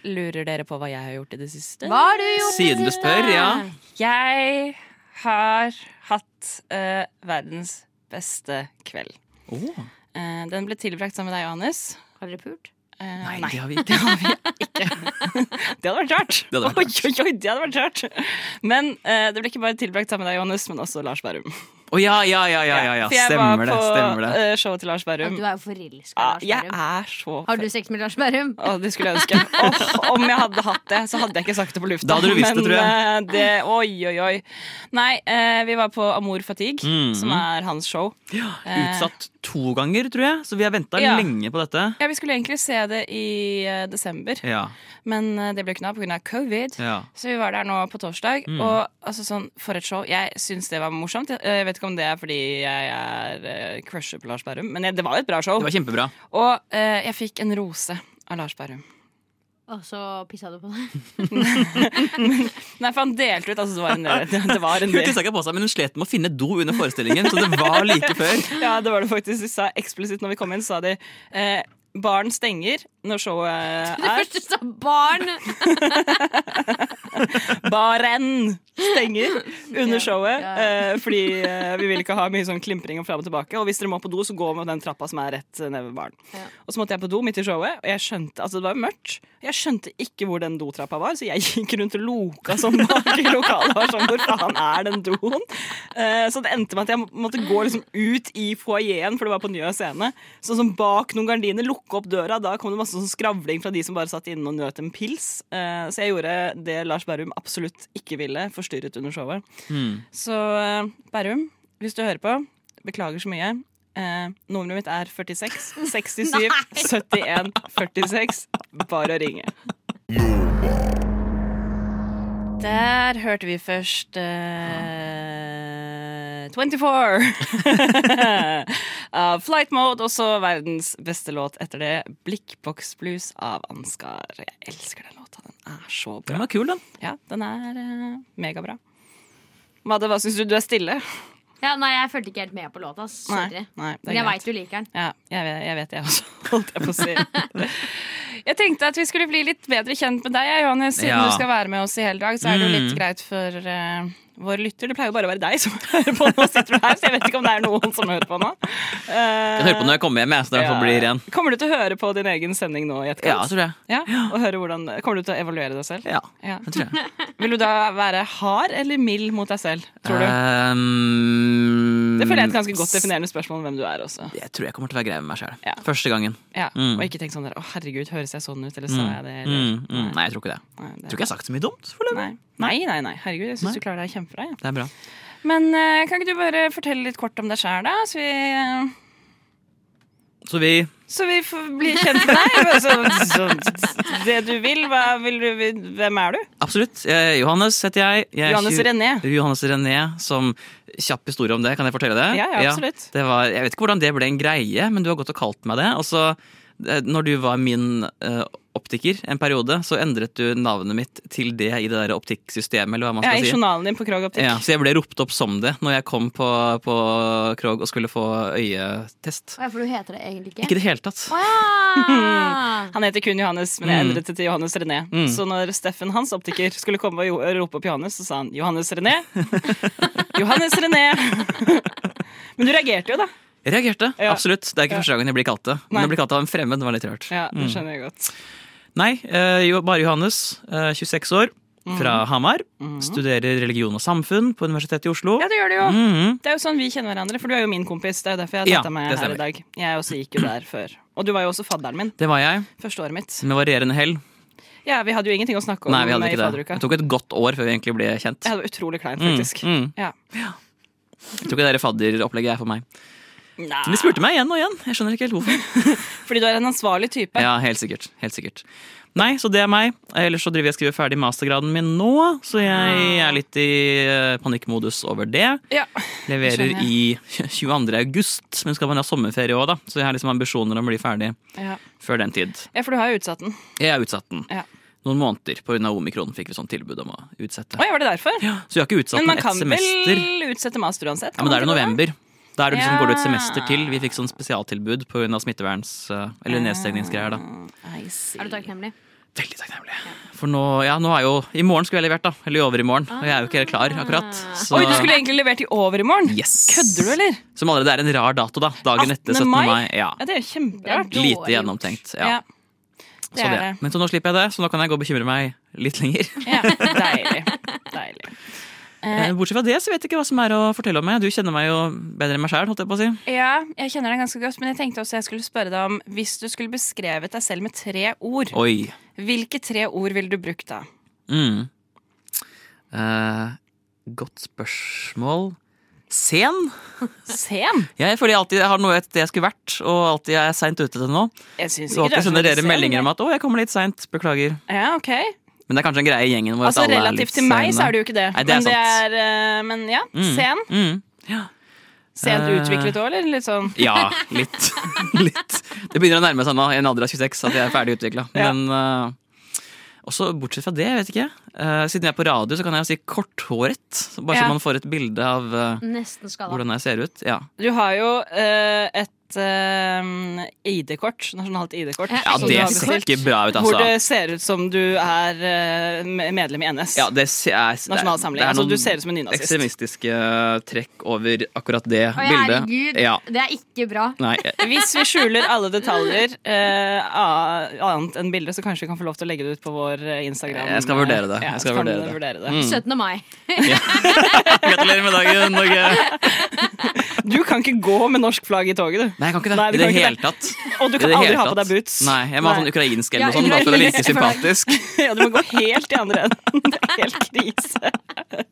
Speaker 3: Lurer dere på hva jeg har gjort i det siste?
Speaker 4: Hva har du gjort?
Speaker 5: Siden du spør, ja.
Speaker 3: Jeg har hatt eh, verdens beste kveld.
Speaker 5: Åh.
Speaker 3: Eh, den ble tilbrakt sammen med deg, Johannes.
Speaker 4: Har dere pult?
Speaker 3: Eh,
Speaker 5: Nei, det har vi ikke.
Speaker 3: Det hadde vært rart!
Speaker 5: Det hadde vært
Speaker 3: Oi, oi, oi, det hadde vært rart. Men eh, det ble ikke bare tilbrakt sammen med deg, Johannes, men også Lars Berrum.
Speaker 5: Å ja, ja, ja, ja, ja, ja.
Speaker 3: For jeg
Speaker 5: Stemmer det.
Speaker 3: var på
Speaker 5: Stemmer det.
Speaker 3: eh, showet til Lars
Speaker 4: Ja,
Speaker 3: Berrum.
Speaker 4: du er jo forelska
Speaker 3: Ja,
Speaker 5: Ah,
Speaker 4: i Lars
Speaker 3: jeg
Speaker 4: Bærum.
Speaker 3: er så
Speaker 4: Har du sex med Lars Bærum?
Speaker 3: Å, det skulle jeg ønske. Åh, om jeg hadde hatt det, så hadde jeg ikke sagt det på lufta.
Speaker 5: Da hadde du visst det,
Speaker 3: Men,
Speaker 5: tror jeg.
Speaker 3: eh, Det, oi, oi, oi. Nei, eh, vi var på Amour Fatigue,
Speaker 5: Mhm.
Speaker 3: som er hans show. Eh,
Speaker 5: Utsatt to ganger, tror jeg, så vi har venta
Speaker 3: Ja.
Speaker 5: lenge på dette.
Speaker 3: Ja, Vi skulle egentlig se det i eh, desember,
Speaker 5: Ja,
Speaker 3: men eh, det ble ikke noe av pga. covid.
Speaker 5: ja. Mm.
Speaker 3: Så vi var der nå på torsdag, og altså sånn, for et show. Jeg syns det var morsomt. Jeg- eh, Jeg vet ikke om det er fordi jeg er eh, crusher på Lars Berrum, men eh, det var jo et bra show.
Speaker 5: Det var kjempebra.
Speaker 3: Og eh, jeg fikk en rose av Lars Berrum.
Speaker 4: Og så pissa du på deg.
Speaker 3: Nei, for han delte ut Altså, det var
Speaker 5: <laughs>
Speaker 3: en del. Det var en
Speaker 5: Hun
Speaker 3: del.
Speaker 5: tissa ikke på seg, men hun slet med å finne do under forestillingen, så det var like før.
Speaker 3: Ja, det var det faktisk. De sa eksplisitt når vi kom inn, sa de eh, Baren stenger når showet
Speaker 4: Det
Speaker 3: er.
Speaker 4: første sa barn!
Speaker 3: Baren stenger under showet.
Speaker 4: Ja,
Speaker 3: eh, fordi eh, vi vil ikke ha mye sånn klimpring og fram og tilbake. Og hvis dere må på do, så gå med den trappa som er rett eh, ned ved baren.
Speaker 4: Ja.
Speaker 3: Og så måtte jeg på do midt i showet, og jeg skjønte altså det var mørkt. Jeg skjønte ikke hvor den dotrappa var, så jeg gikk rundt og loka som bak i lokalet. Var sånn, hvor faen er den doen? Eh, Så det endte med at jeg må- måtte gå liksom ut i foajeen, for det var på Njø scene. Sånn som bak noen gardiner, lukke opp døra. Da kom det masse sånn skravling fra de som bare satt inne og nøt en pils. Eh, Så jeg gjorde det Lars Berrum absolutt ikke ville, forstyrret under showet. Så eh, Berrum, hvis du hører på, beklager så mye. Eh, nummeret mitt er <laughs> 46 67 71 46. Bare å ringe. Der hørte vi først eh, <laughs> 24 av Flight Mode, og så verdens beste låt etter det, Blikkboks Blues av Ansgar. Jeg elsker den låta. Den er så bra.
Speaker 5: Den var kul, den.
Speaker 3: Ja, den er eh, megabra. Madde, hva syns du? Du er stille.
Speaker 4: Ja, nei, jeg fulgte ikke helt med på låta. ass. Sorry.
Speaker 3: nei det er
Speaker 4: Men jeg
Speaker 3: greit.
Speaker 4: veit du liker den.
Speaker 3: Ja, jeg vet, jeg vet det også, <laughs> holdt jeg på å si. <laughs> Jeg tenkte at vi skulle bli litt bedre kjent med deg, jeg, Johannes. Siden
Speaker 5: Ja.
Speaker 3: du skal være med oss i hele dag, så er det jo litt greit for eh, vår lytter. Det pleier jo bare å være deg som <laughs> hører på nå, sitter du her, så jeg vet ikke om det er noen som hører på nå. Eh,
Speaker 5: Jeg hører på når jeg kommer hjem, jeg, så den får bli ren.
Speaker 3: Kommer du til å høre på din egen sending nå i
Speaker 5: Ja,
Speaker 3: etterkant?
Speaker 5: tror jeg.
Speaker 3: Ja, og høre hvordan, Kommer du til å evaluere deg selv?
Speaker 5: Ja,
Speaker 3: Ja.
Speaker 5: det tror jeg.
Speaker 3: Vil du da være hard eller mild mot deg selv, <laughs> tror du?
Speaker 5: Ehm,
Speaker 3: Det føler jeg er et ganske godt definerende spørsmål om hvem du er også.
Speaker 5: Jeg tror jeg kommer til å være grei med meg sjæl.
Speaker 3: Ja.
Speaker 5: Første gangen.
Speaker 3: Ja,
Speaker 5: Mm.
Speaker 3: Og ikke tenk sånn der, å herregud, høres jeg sånn ut, eller sa jeg det?
Speaker 5: Mm,
Speaker 3: Eller?
Speaker 5: mm, nei, jeg tror ikke det.
Speaker 3: Nei, det-
Speaker 5: Jeg tror ikke jeg har sagt så mye dumt. For det.
Speaker 3: Nei. Nei, nei, nei, herregud, jeg
Speaker 5: Nei.
Speaker 3: syns du klarer deg kjempebra. Ja.
Speaker 5: det er bra.
Speaker 3: Men eh, kan ikke du bare fortelle litt kort om deg sjæl, da? Så vi, eh,
Speaker 5: Så vi
Speaker 3: så vi får bli kjent med <laughs> deg. Men Så, så, det du vil, hva vil du Hvem er du?
Speaker 5: Absolutt. Eh, Johannes heter jeg. jeg er
Speaker 3: Johannes
Speaker 5: 20
Speaker 3: René.
Speaker 5: Johannes René, som Kjapp historie om det, kan jeg fortelle det?
Speaker 3: Ja, ja, absolutt.
Speaker 5: det var, jeg vet ikke hvordan det ble en greie, men du har gått og kalt meg det. Og så, eh, når du var min eh, optiker en periode, så endret du navnet mitt til det i det der optikksystemet, eller hva man
Speaker 3: Jeg
Speaker 5: skal
Speaker 3: er i
Speaker 5: si.
Speaker 3: journalen din på Krog Optikk.
Speaker 5: Ja, så jeg ble ropt opp som det når jeg kom på, på Krog og skulle få øyetest.
Speaker 4: Å, ja, for du heter det egentlig ikke?
Speaker 5: Ikke i det hele tatt.
Speaker 4: Å ja!
Speaker 5: <laughs>
Speaker 3: Han heter kun Johannes, men jeg
Speaker 5: Mm.
Speaker 3: endret det til Johannes René.
Speaker 5: Mm.
Speaker 3: Så når Steffen, hans optiker, skulle komme og jo- rope opp Johannes, så sa han Johannes René.
Speaker 5: <laughs>
Speaker 3: Johannes René. <laughs> Men du reagerte jo, da.
Speaker 5: Jeg reagerte,
Speaker 3: Ja.
Speaker 5: absolutt. Det er ikke
Speaker 3: Ja.
Speaker 5: første gangen jeg blir kalt det.
Speaker 3: Nei.
Speaker 5: Men å bli kalt av en fremmed det var litt rørt.
Speaker 3: Ja, Det skjønner jeg godt.
Speaker 5: Nei, eh, jo, bare Johannes, eh, 26 år,
Speaker 3: Mm.
Speaker 5: fra Hamar. Studerer religion og samfunn på Universitetet i Oslo.
Speaker 3: Ja, det gjør det jo.
Speaker 5: Mhm.
Speaker 3: Det er jo sånn vi kjenner hverandre, for du er jo min kompis. Det er jo derfor jeg har
Speaker 5: Ja,
Speaker 3: tatt deg med
Speaker 5: det
Speaker 3: her
Speaker 5: stemmer.
Speaker 3: i dag. Jeg også gikk jo der før. Og du var jo også fadderen min
Speaker 5: Det var jeg,
Speaker 3: første året mitt.
Speaker 5: med varierende hell.
Speaker 3: Ja, Vi hadde jo ingenting å snakke om
Speaker 5: Mm. Nei, vi hadde
Speaker 3: i
Speaker 5: ikke det.
Speaker 3: fadderuka.
Speaker 5: Det tok et godt år før vi egentlig ble kjent.
Speaker 3: Jeg hadde utrolig kleint, faktisk.
Speaker 5: Mm, mm.
Speaker 3: Ja.
Speaker 5: Jeg tror ikke det der fadderopplegget er for meg.
Speaker 3: Nei.
Speaker 5: Men de spurte meg igjen og igjen. Jeg skjønner ikke helt hvorfor.
Speaker 3: Fordi du er en ansvarlig type.
Speaker 5: Ja, helt sikkert. Helt sikkert. Nei, så det er meg. Ellers så driver jeg og skriver ferdig mastergraden min nå, så jeg
Speaker 3: Ah.
Speaker 5: er litt i eh, panikkmodus over det.
Speaker 3: Ja.
Speaker 5: Leverer
Speaker 3: Skjønner
Speaker 5: i 22. august, men skal man ha sommerferie òg, da. Så jeg har liksom ambisjoner om å bli ferdig
Speaker 3: Ja.
Speaker 5: før den tid.
Speaker 3: ja, for du har jo utsatt den.
Speaker 5: Jeg har utsatt den.
Speaker 3: Ja.
Speaker 5: Noen måneder pga. omikron fikk vi sånn tilbud om å utsette.
Speaker 3: Oi, var det derfor?
Speaker 5: Så vi har ikke utsatt
Speaker 3: Men
Speaker 5: den
Speaker 3: man
Speaker 5: ett
Speaker 3: kan
Speaker 5: semester.
Speaker 3: vel utsette master uansett?
Speaker 5: Ja, men da er det november. Da er det liksom,
Speaker 3: Ja.
Speaker 5: går det et semester til. Vi fikk sånn spesialtilbud pga. smitteverns- eh, eller nedstengningsgreier. da.
Speaker 4: Er du takknemlig?
Speaker 5: Veldig takknemlig. For nå, ja, nå er jo I morgen skulle jeg levert, da. Eller i overmorgen. Og jeg er jo ikke helt klar akkurat. Så,
Speaker 3: Ah. Oi, du skulle egentlig levert i overmorgen?
Speaker 5: yes.
Speaker 3: Kødder du, eller?
Speaker 5: Som allerede er en rar dato, da. Dagen etter
Speaker 3: 18.
Speaker 5: 17.
Speaker 3: mai?
Speaker 5: mai. Ja.
Speaker 3: Ja, det er jo kjemperart.
Speaker 4: Det er
Speaker 5: Lite
Speaker 4: dårlig gjort.
Speaker 5: gjennomtenkt. Ja.
Speaker 3: Det
Speaker 5: så
Speaker 3: er
Speaker 5: det.
Speaker 3: det.
Speaker 5: Men så nå slipper jeg det, så nå kan jeg gå og bekymre meg litt lenger.
Speaker 3: Ja, deilig. Deilig.
Speaker 5: Eh, Bortsett fra det så vet jeg ikke hva som er å fortelle om meg. Du kjenner meg jo bedre enn meg sjæl, holdt jeg på å si.
Speaker 3: Ja, jeg kjenner deg ganske godt, men jeg tenkte også jeg skulle spørre deg om Hvis du skulle beskrevet deg selv med tre ord,
Speaker 5: Oi.
Speaker 3: hvilke tre ord ville du brukt da?
Speaker 5: Mm. Eh, godt spørsmål. Sen?
Speaker 3: Sen?
Speaker 5: Jeg føler jeg alltid jeg har noe et sted jeg skulle vært, og alltid er jeg seint ute til nå.
Speaker 3: Jeg syns
Speaker 5: Så
Speaker 3: ikke
Speaker 5: alltid sender dere
Speaker 3: sen,
Speaker 5: meldinger om
Speaker 3: men-
Speaker 5: at 'å, jeg kommer litt seint', beklager.
Speaker 3: Ja, ok
Speaker 5: Men det er kanskje en greie i gjengen vår. at
Speaker 3: Altså
Speaker 5: alle er litt
Speaker 3: Relativt til meg så er det jo ikke det.
Speaker 5: Nei, det er
Speaker 3: men, det
Speaker 5: sant.
Speaker 3: er, eh, men ja,
Speaker 5: Mm.
Speaker 3: sen.
Speaker 5: Mm.
Speaker 3: Sent
Speaker 5: Eh.
Speaker 3: utviklet òg, eller? Litt sånn
Speaker 5: Ja, litt.
Speaker 3: <laughs>
Speaker 5: litt. Det begynner å nærme seg nå, i en alder av 26, at jeg er ferdig utvikla.
Speaker 3: Ja.
Speaker 5: Men eh, også bortsett fra det, jeg vet ikke. Eh, siden jeg er på radio, så kan jeg jo si korthåret. Bare
Speaker 3: Ja.
Speaker 5: så man får et bilde av eh,
Speaker 4: Nesten skada.
Speaker 5: hvordan jeg ser ut. Ja.
Speaker 3: Du har jo eh, et et eh, ID-kort, nasjonalt ID-kort.
Speaker 4: Ja,
Speaker 5: Ja,
Speaker 3: som du
Speaker 5: det
Speaker 3: har
Speaker 5: ser
Speaker 3: bestilt,
Speaker 5: ikke bra ut,
Speaker 3: Hvor det
Speaker 5: altså.
Speaker 3: ser ut som du er eh, me- medlem i NS.
Speaker 5: Ja, det se- er, det er-
Speaker 3: Nasjonal Samling.
Speaker 5: det er
Speaker 3: Altså,
Speaker 5: noen
Speaker 3: du ser ut som en nynazist.
Speaker 5: Ekstremistiske eh, trekk over akkurat
Speaker 4: Å,
Speaker 5: det bildet.
Speaker 4: herregud,
Speaker 5: Ja. Mm.
Speaker 4: det er ikke bra.
Speaker 3: <laughs>
Speaker 5: Nei,
Speaker 3: Hvis vi skjuler alle detaljer eh, a- annet enn bildet, så kanskje vi kan få lov til å legge det ut på vår eh, Instagram. eh,
Speaker 5: Jeg skal vurdere det.
Speaker 3: Ja,
Speaker 5: Jeg skal
Speaker 3: så kan
Speaker 5: vurdere
Speaker 3: du
Speaker 5: det.
Speaker 3: vurdere det.
Speaker 5: Mm.
Speaker 4: 17. mai.
Speaker 5: <laughs> gratulerer med dagen, Norge!
Speaker 3: Du kan ikke gå med norsk flagg i toget, du.
Speaker 5: Nei, jeg kan ikke det
Speaker 3: Nei, du
Speaker 5: i det
Speaker 3: kan ikke
Speaker 5: hele
Speaker 3: det.
Speaker 5: tatt.
Speaker 3: Og du
Speaker 5: I
Speaker 3: kan
Speaker 5: det
Speaker 3: aldri
Speaker 5: hele
Speaker 3: ha på
Speaker 5: tatt.
Speaker 3: deg boots.
Speaker 5: Nei, jeg må ha sånn
Speaker 3: Nei.
Speaker 5: ukrainsk eller
Speaker 4: Ja,
Speaker 5: noe sånt, bare for å virke
Speaker 4: ukrainsk flagg.
Speaker 5: sympatisk.
Speaker 3: <laughs> Ja, du må gå helt i andre enden. <laughs> Det er helt krise.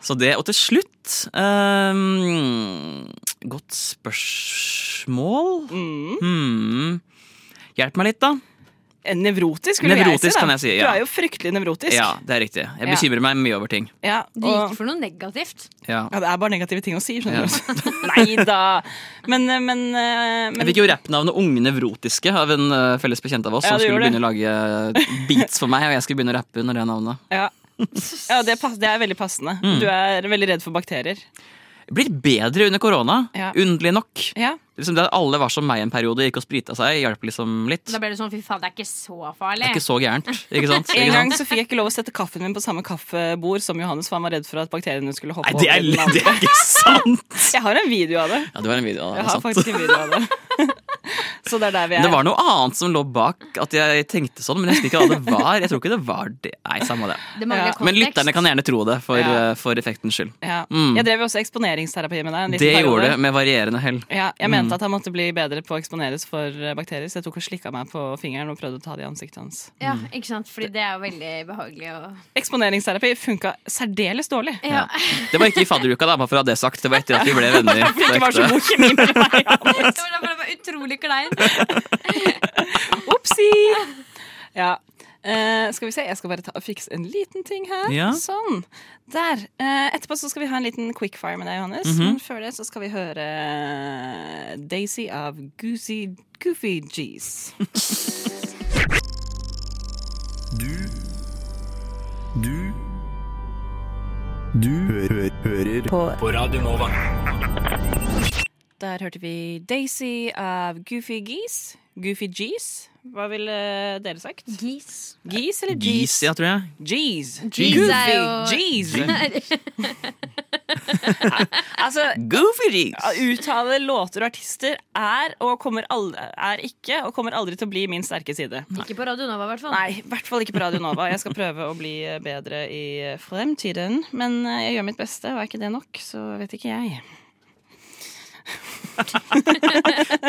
Speaker 5: Så det, og til slutt ehm, Godt spørsmål.
Speaker 3: Mm.
Speaker 5: Hmm. Hjelp meg litt, da.
Speaker 3: Nevrotisk, vil jeg si.
Speaker 5: Nevrotisk,
Speaker 3: da.
Speaker 5: kan jeg si, ja.
Speaker 3: Du er jo fryktelig nevrotisk.
Speaker 5: Ja, det er riktig. Jeg
Speaker 3: Ja.
Speaker 5: bekymrer meg mye over ting.
Speaker 3: Ja,
Speaker 4: Du
Speaker 3: og-
Speaker 4: gikk for noe negativt.
Speaker 5: Ja.
Speaker 3: ja, det er bare negative ting å si,
Speaker 5: Ja.
Speaker 3: <laughs> skjønner du. Nei da. Men, eh, men, eh, men
Speaker 5: Jeg fikk jo rappnavnet Unge Nevrotiske av en eh, felles bekjent av oss
Speaker 3: Ja,
Speaker 5: som
Speaker 3: du
Speaker 5: skulle
Speaker 3: gjorde det.
Speaker 5: begynne å lage eh, beats for meg, og jeg skulle begynne å rappe under det navnet.
Speaker 3: Ja, ja det, er pass, det er veldig passende.
Speaker 5: Mm.
Speaker 3: Du er veldig redd for bakterier.
Speaker 5: Blitt bedre under korona,
Speaker 3: Ja.
Speaker 5: underlig nok.
Speaker 3: Ja.
Speaker 5: Liksom det at alle var som meg en periode, gikk og sprita seg, hjalp liksom litt.
Speaker 4: Da ble det sånn, fy faen, det er ikke så
Speaker 5: Det
Speaker 4: farlig.
Speaker 5: er ikke så gærent, ikke sant?
Speaker 3: <laughs> En
Speaker 5: Ikke
Speaker 3: gang
Speaker 5: sant?
Speaker 3: så fikk jeg ikke lov å sette kaffen min på samme kaffebord som Johannes, for han var redd for at bakteriene skulle hoppe <laughs>
Speaker 5: Nei, det er,
Speaker 3: over. den
Speaker 5: det er ikke sant!
Speaker 3: andre. Jeg har en video av det.
Speaker 5: Ja, det var en video.
Speaker 3: Jeg
Speaker 5: Det,
Speaker 3: har
Speaker 5: sant.
Speaker 3: faktisk
Speaker 5: <laughs>
Speaker 3: en video av det. Så det er der vi er.
Speaker 5: det var noe annet som lå bak at jeg tenkte sånn, men jeg husker ikke hva det var. Jeg tror ikke det var det. Nei, samme det.
Speaker 4: Det mangler
Speaker 3: Ja.
Speaker 4: kontekst.
Speaker 5: Men lytterne kan gjerne tro det, for,
Speaker 3: Ja.
Speaker 5: eh, for effektens skyld.
Speaker 3: ja.
Speaker 5: Mm.
Speaker 3: Jeg drev jo også eksponeringsterapi med deg. en liten
Speaker 5: Det
Speaker 3: periode.
Speaker 5: gjorde det Mm. med varierende hell.
Speaker 3: Ja, jeg mente at han måtte bli bedre på å eksponeres for eh, bakterier, så jeg tok og slikka meg på fingeren og prøvde å ta det i ansiktet hans.
Speaker 4: Ja, ikke sant? Fordi det er jo veldig behagelig
Speaker 5: <laughs>
Speaker 4: å
Speaker 3: Eksponeringsterapi funka særdeles dårlig.
Speaker 4: ja.
Speaker 5: Det var ikke i fadderuka, da, bare for å ha det sagt. Det var etter at vi ble
Speaker 3: <laughs>
Speaker 5: venner. på
Speaker 3: Det var så
Speaker 5: ekte.
Speaker 3: god kjemi
Speaker 5: <laughs>
Speaker 3: mellom meg og han.
Speaker 4: Det var derfor det var utrolig klein.
Speaker 3: Opsi! Ja. Eh, skal vi se, Jeg skal bare ta og fikse en liten ting her.
Speaker 5: Ja.
Speaker 3: Sånn. Der. Eh, etterpå så skal vi ha en liten quickfire med deg, Johannes.
Speaker 5: Mhm.
Speaker 3: Men før det så skal vi høre eh, Daisy av Goosey Goofy
Speaker 5: <laughs>
Speaker 3: G's.
Speaker 9: Du Du Du hø hø hører på. Radio Nova.
Speaker 3: Der hørte vi Daisy av Goofy Geese. Goofy G's. Hva ville dere sagt?
Speaker 4: Gis.
Speaker 3: Geese eller
Speaker 5: Gis,
Speaker 3: G's?
Speaker 5: ja, tror jeg.
Speaker 3: G's.
Speaker 4: G's er jo-
Speaker 3: Goofy G's. altså,
Speaker 5: Goofy jeans!
Speaker 3: Å uttale låter og artister er, og kommer aldri, er ikke og kommer aldri til å bli min sterke side.
Speaker 4: Ikke på Radio Nova, i hvert fall.
Speaker 3: Nei, i hvert fall ikke på Radio Nova. Jeg skal prøve å bli bedre i fremtiden. Men eh, jeg gjør mitt beste, og er ikke det nok, så vet ikke jeg.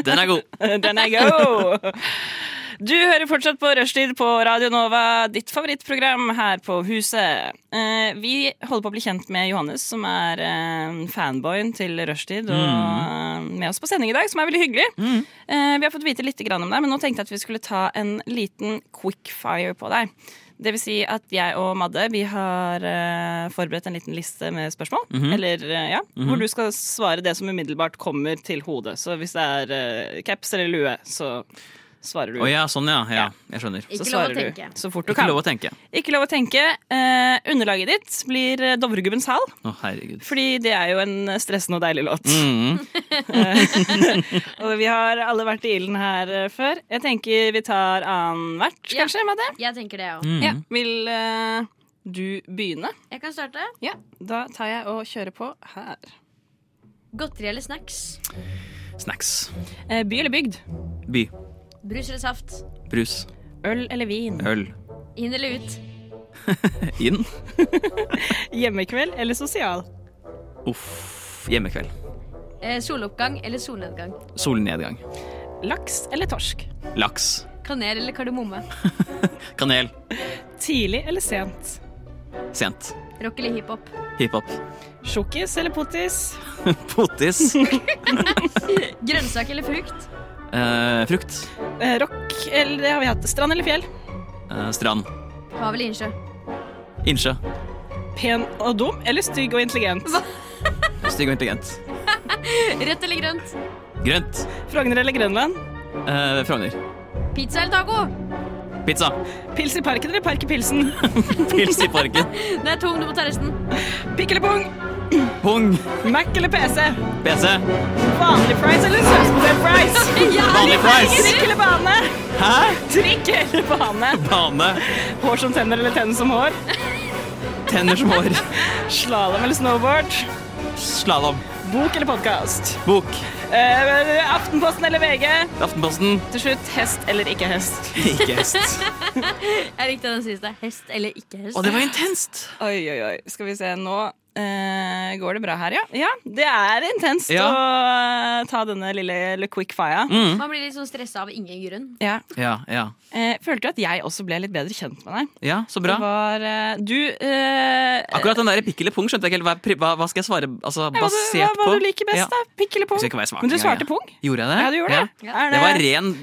Speaker 5: Den er
Speaker 3: <laughs>
Speaker 5: god.
Speaker 3: Den er go! Du hører fortsatt på Rushtid på Radio Nova, ditt favorittprogram her på huset. Eh, vi holder på å bli kjent med Johannes, som er eh, fanboyen til Rushtid, og eh, med oss på sending i dag, som er veldig hyggelig. Eh, vi har fått vite litt grann om deg, men nå tenkte jeg at vi skulle ta en liten quickfire på deg. Det vil si at jeg og Madde vi har eh, forberedt en liten liste med spørsmål. Eller eh, ja, Hvor du skal svare det som umiddelbart kommer til hodet. Så hvis det er eh, caps eller lue, så svarer du.
Speaker 5: Å ja, sånn, ja. ja. Jeg skjønner.
Speaker 3: Så
Speaker 4: Ikke lov
Speaker 3: svarer
Speaker 4: å
Speaker 3: du
Speaker 4: tenke.
Speaker 3: så fort du
Speaker 5: Ikke
Speaker 3: kan.
Speaker 5: lov å tenke.
Speaker 3: Ikke lov å tenke. Eh, underlaget ditt blir eh, Dovregubbens hall,
Speaker 5: Å, herregud.
Speaker 3: fordi det er jo en stressende og deilig låt. Eh,
Speaker 5: Mhm.
Speaker 3: <laughs> Og vi har alle vært i ilden her eh, før. Jeg tenker vi tar annenhvert,
Speaker 4: Ja.
Speaker 3: kanskje, Madde?
Speaker 4: Jeg tenker det òg.
Speaker 5: Mhm.
Speaker 3: Ja. Vil eh, du begynne?
Speaker 4: Jeg kan starte.
Speaker 3: Ja, da tar jeg og kjører på her.
Speaker 4: Godteri eller snacks?
Speaker 5: Snacks.
Speaker 3: Eh, By eller bygd?
Speaker 5: By.
Speaker 4: Brus eller saft?
Speaker 5: Brus.
Speaker 3: Øl eller vin?
Speaker 5: Øl.
Speaker 4: Inn eller ut?
Speaker 5: Inn.
Speaker 3: Hjemmekveld eller sosial?
Speaker 5: Uff. Hjemmekveld.
Speaker 4: Eh, soloppgang eller solnedgang?
Speaker 5: Solnedgang.
Speaker 3: Laks eller torsk?
Speaker 5: Laks.
Speaker 4: Kanel eller kardemomme?
Speaker 5: Kanel.
Speaker 3: Tidlig eller sent?
Speaker 5: Sent.
Speaker 4: Rock eller hiphop?
Speaker 5: Hiphop.
Speaker 3: Sjokkis eller potis? <laughs>
Speaker 5: Potis.
Speaker 4: Grønnsak eller frukt?
Speaker 5: Eh, frukt.
Speaker 3: Eh, rock eller det har vi hatt. Strand eller fjell?
Speaker 5: Eh, strand.
Speaker 4: Hav eller innsjø?
Speaker 5: Innsjø.
Speaker 3: Pen og dum eller stygg og intelligent?
Speaker 5: Stygg og intelligent.
Speaker 4: Rødt eller grønt?
Speaker 5: Grønt.
Speaker 3: Frogner eller Grønland?
Speaker 5: Eh, Frogner.
Speaker 4: Pizza eller taco?
Speaker 5: Pizza. <laughs>
Speaker 3: Pils i parken eller park i pilsen?
Speaker 5: Pils i parken.
Speaker 4: Den er tung, du må ta resten. <laughs>
Speaker 3: Pikk eller pung?
Speaker 5: Pung.
Speaker 3: Mac eller PC?
Speaker 5: PC.
Speaker 3: Vanlig fries eller søsmodell fries?
Speaker 5: Vanlig fries.
Speaker 3: Trikk eller bane?
Speaker 5: Hæ?
Speaker 3: Trikk eller bane?
Speaker 5: Bane.
Speaker 3: Hår som tenner eller tenner som hår?
Speaker 5: Tenner som hår.
Speaker 3: Slalåm eller snowboard?
Speaker 5: Slalåm.
Speaker 3: Bok eller podkast?
Speaker 5: Bok.
Speaker 3: Aftenposten eller VG?
Speaker 5: Aftenposten.
Speaker 3: Til slutt, hest eller ikke hest?
Speaker 5: Ikke hest.
Speaker 4: Jeg likte den siste. Hest eller ikke hest.
Speaker 5: Og det var intenst.
Speaker 3: Oi, oi, oi. Skal vi se nå. eh, går det bra her, ja? Ja, det er intenst
Speaker 5: Ja. Mm.
Speaker 3: å eh, ta denne lille, lille quickfire.
Speaker 4: Man blir litt sånn stressa av ingen grunn.
Speaker 3: Ja.
Speaker 5: Ja, ja.
Speaker 3: Eh, følte jo at jeg også ble litt bedre kjent med deg.
Speaker 5: Ja, så
Speaker 3: Det
Speaker 5: bra.
Speaker 3: var eh, Du eh,
Speaker 5: Akkurat den der pikk eller pung skjønte jeg ikke helt. Hva, er pri- hva, hva skal jeg svare altså,
Speaker 3: hva du- hva,
Speaker 5: basert på?
Speaker 3: hva du liker best,
Speaker 5: Ja.
Speaker 3: da? Pikk eller pung?
Speaker 5: Jeg husker ikke hva jeg svarte
Speaker 3: Men du
Speaker 5: engang,
Speaker 3: svarte
Speaker 5: ja.
Speaker 3: pung?
Speaker 5: Gjorde jeg det?
Speaker 3: Ja, du gjorde det.
Speaker 5: Ja.
Speaker 3: Er
Speaker 5: Det var ren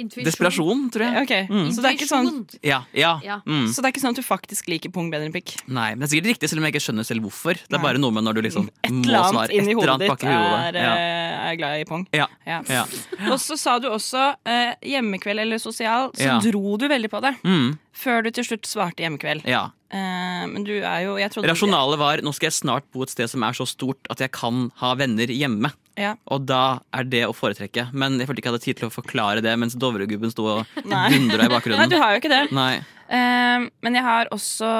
Speaker 4: Intuisjon.
Speaker 5: desperasjon, tror jeg.
Speaker 3: Ok,
Speaker 5: Mm.
Speaker 3: Så det er ikke sånn
Speaker 4: Intuisjon.
Speaker 5: Ja. ja.
Speaker 4: Ja.
Speaker 5: Mm.
Speaker 3: Så det er ikke sånn at du faktisk liker pung bedre enn pikk?
Speaker 5: Nei, men Det er sikkert riktig, selv om jeg ikke skjønner selv hvorfor. Det er
Speaker 3: Nei.
Speaker 5: bare noe med når du liksom
Speaker 3: Et
Speaker 5: må
Speaker 3: eller
Speaker 5: svare.
Speaker 3: annet inni
Speaker 5: Et eller
Speaker 3: hodet
Speaker 5: annet
Speaker 3: ditt
Speaker 5: bak i hodet.
Speaker 3: er, eh, er glad i pung.
Speaker 5: Ja.
Speaker 3: Ja.
Speaker 5: Ja.
Speaker 3: Og så sa du også eh, hjemmekveld eller sosial, så
Speaker 5: Ja.
Speaker 3: dro du veldig på det.
Speaker 5: Ja. Mm.
Speaker 3: Før du til slutt svarte hjemmekveld.
Speaker 5: ja.
Speaker 3: Eh, men du er jo jeg trodde,
Speaker 5: Rasjonalet var nå skal jeg snart bo et sted som er så stort at jeg kan ha venner hjemme.
Speaker 3: Ja.
Speaker 5: Og da er det å foretrekke. Men jeg følte ikke jeg hadde tid til å forklare det mens Dovregubben sto og
Speaker 3: Nei.
Speaker 5: dundra i
Speaker 3: <laughs> Nei, du
Speaker 5: bakgrunnen.
Speaker 3: har jo ikke det.
Speaker 5: Nei.
Speaker 3: Eh, men jeg har også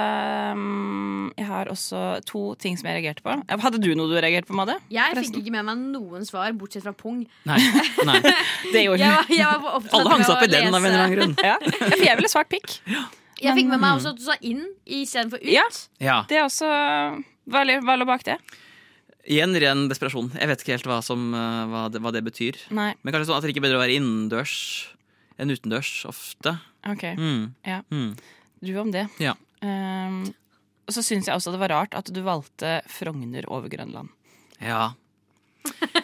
Speaker 3: eh, Jeg har også to ting som jeg reagerte på. Hadde du noe du reagerte på, Madde?
Speaker 4: Jeg fikk ikke med meg noen svar, bortsett fra pung.
Speaker 5: Nei. Nei.
Speaker 3: <laughs> Det
Speaker 4: Jeg,
Speaker 3: gjorde
Speaker 4: var, jeg, var for opptatt
Speaker 5: Alle hang seg opp i
Speaker 4: med å
Speaker 5: den av en eller annen grunn. Mm.
Speaker 3: Ja, for jeg ville svart pikk.
Speaker 4: lese. Jeg fikk med meg også at du sa inn istedenfor ut.
Speaker 3: Ja.
Speaker 5: Ja.
Speaker 3: Det er også Hva li- hva lå bak det?
Speaker 5: Igjen ren desperasjon. Jeg vet ikke helt hva, som, eh, hva, det, hva det betyr.
Speaker 3: Nei.
Speaker 5: Men kanskje sånn at det ikke er bedre å være innendørs enn utendørs ofte.
Speaker 3: Ok.
Speaker 5: Mm.
Speaker 3: Ja.
Speaker 5: Mm.
Speaker 3: Du om det.
Speaker 5: Ja.
Speaker 3: Ehm, og så syns jeg også det var rart at du valgte Frogner over Grønland.
Speaker 5: Ja. <laughs>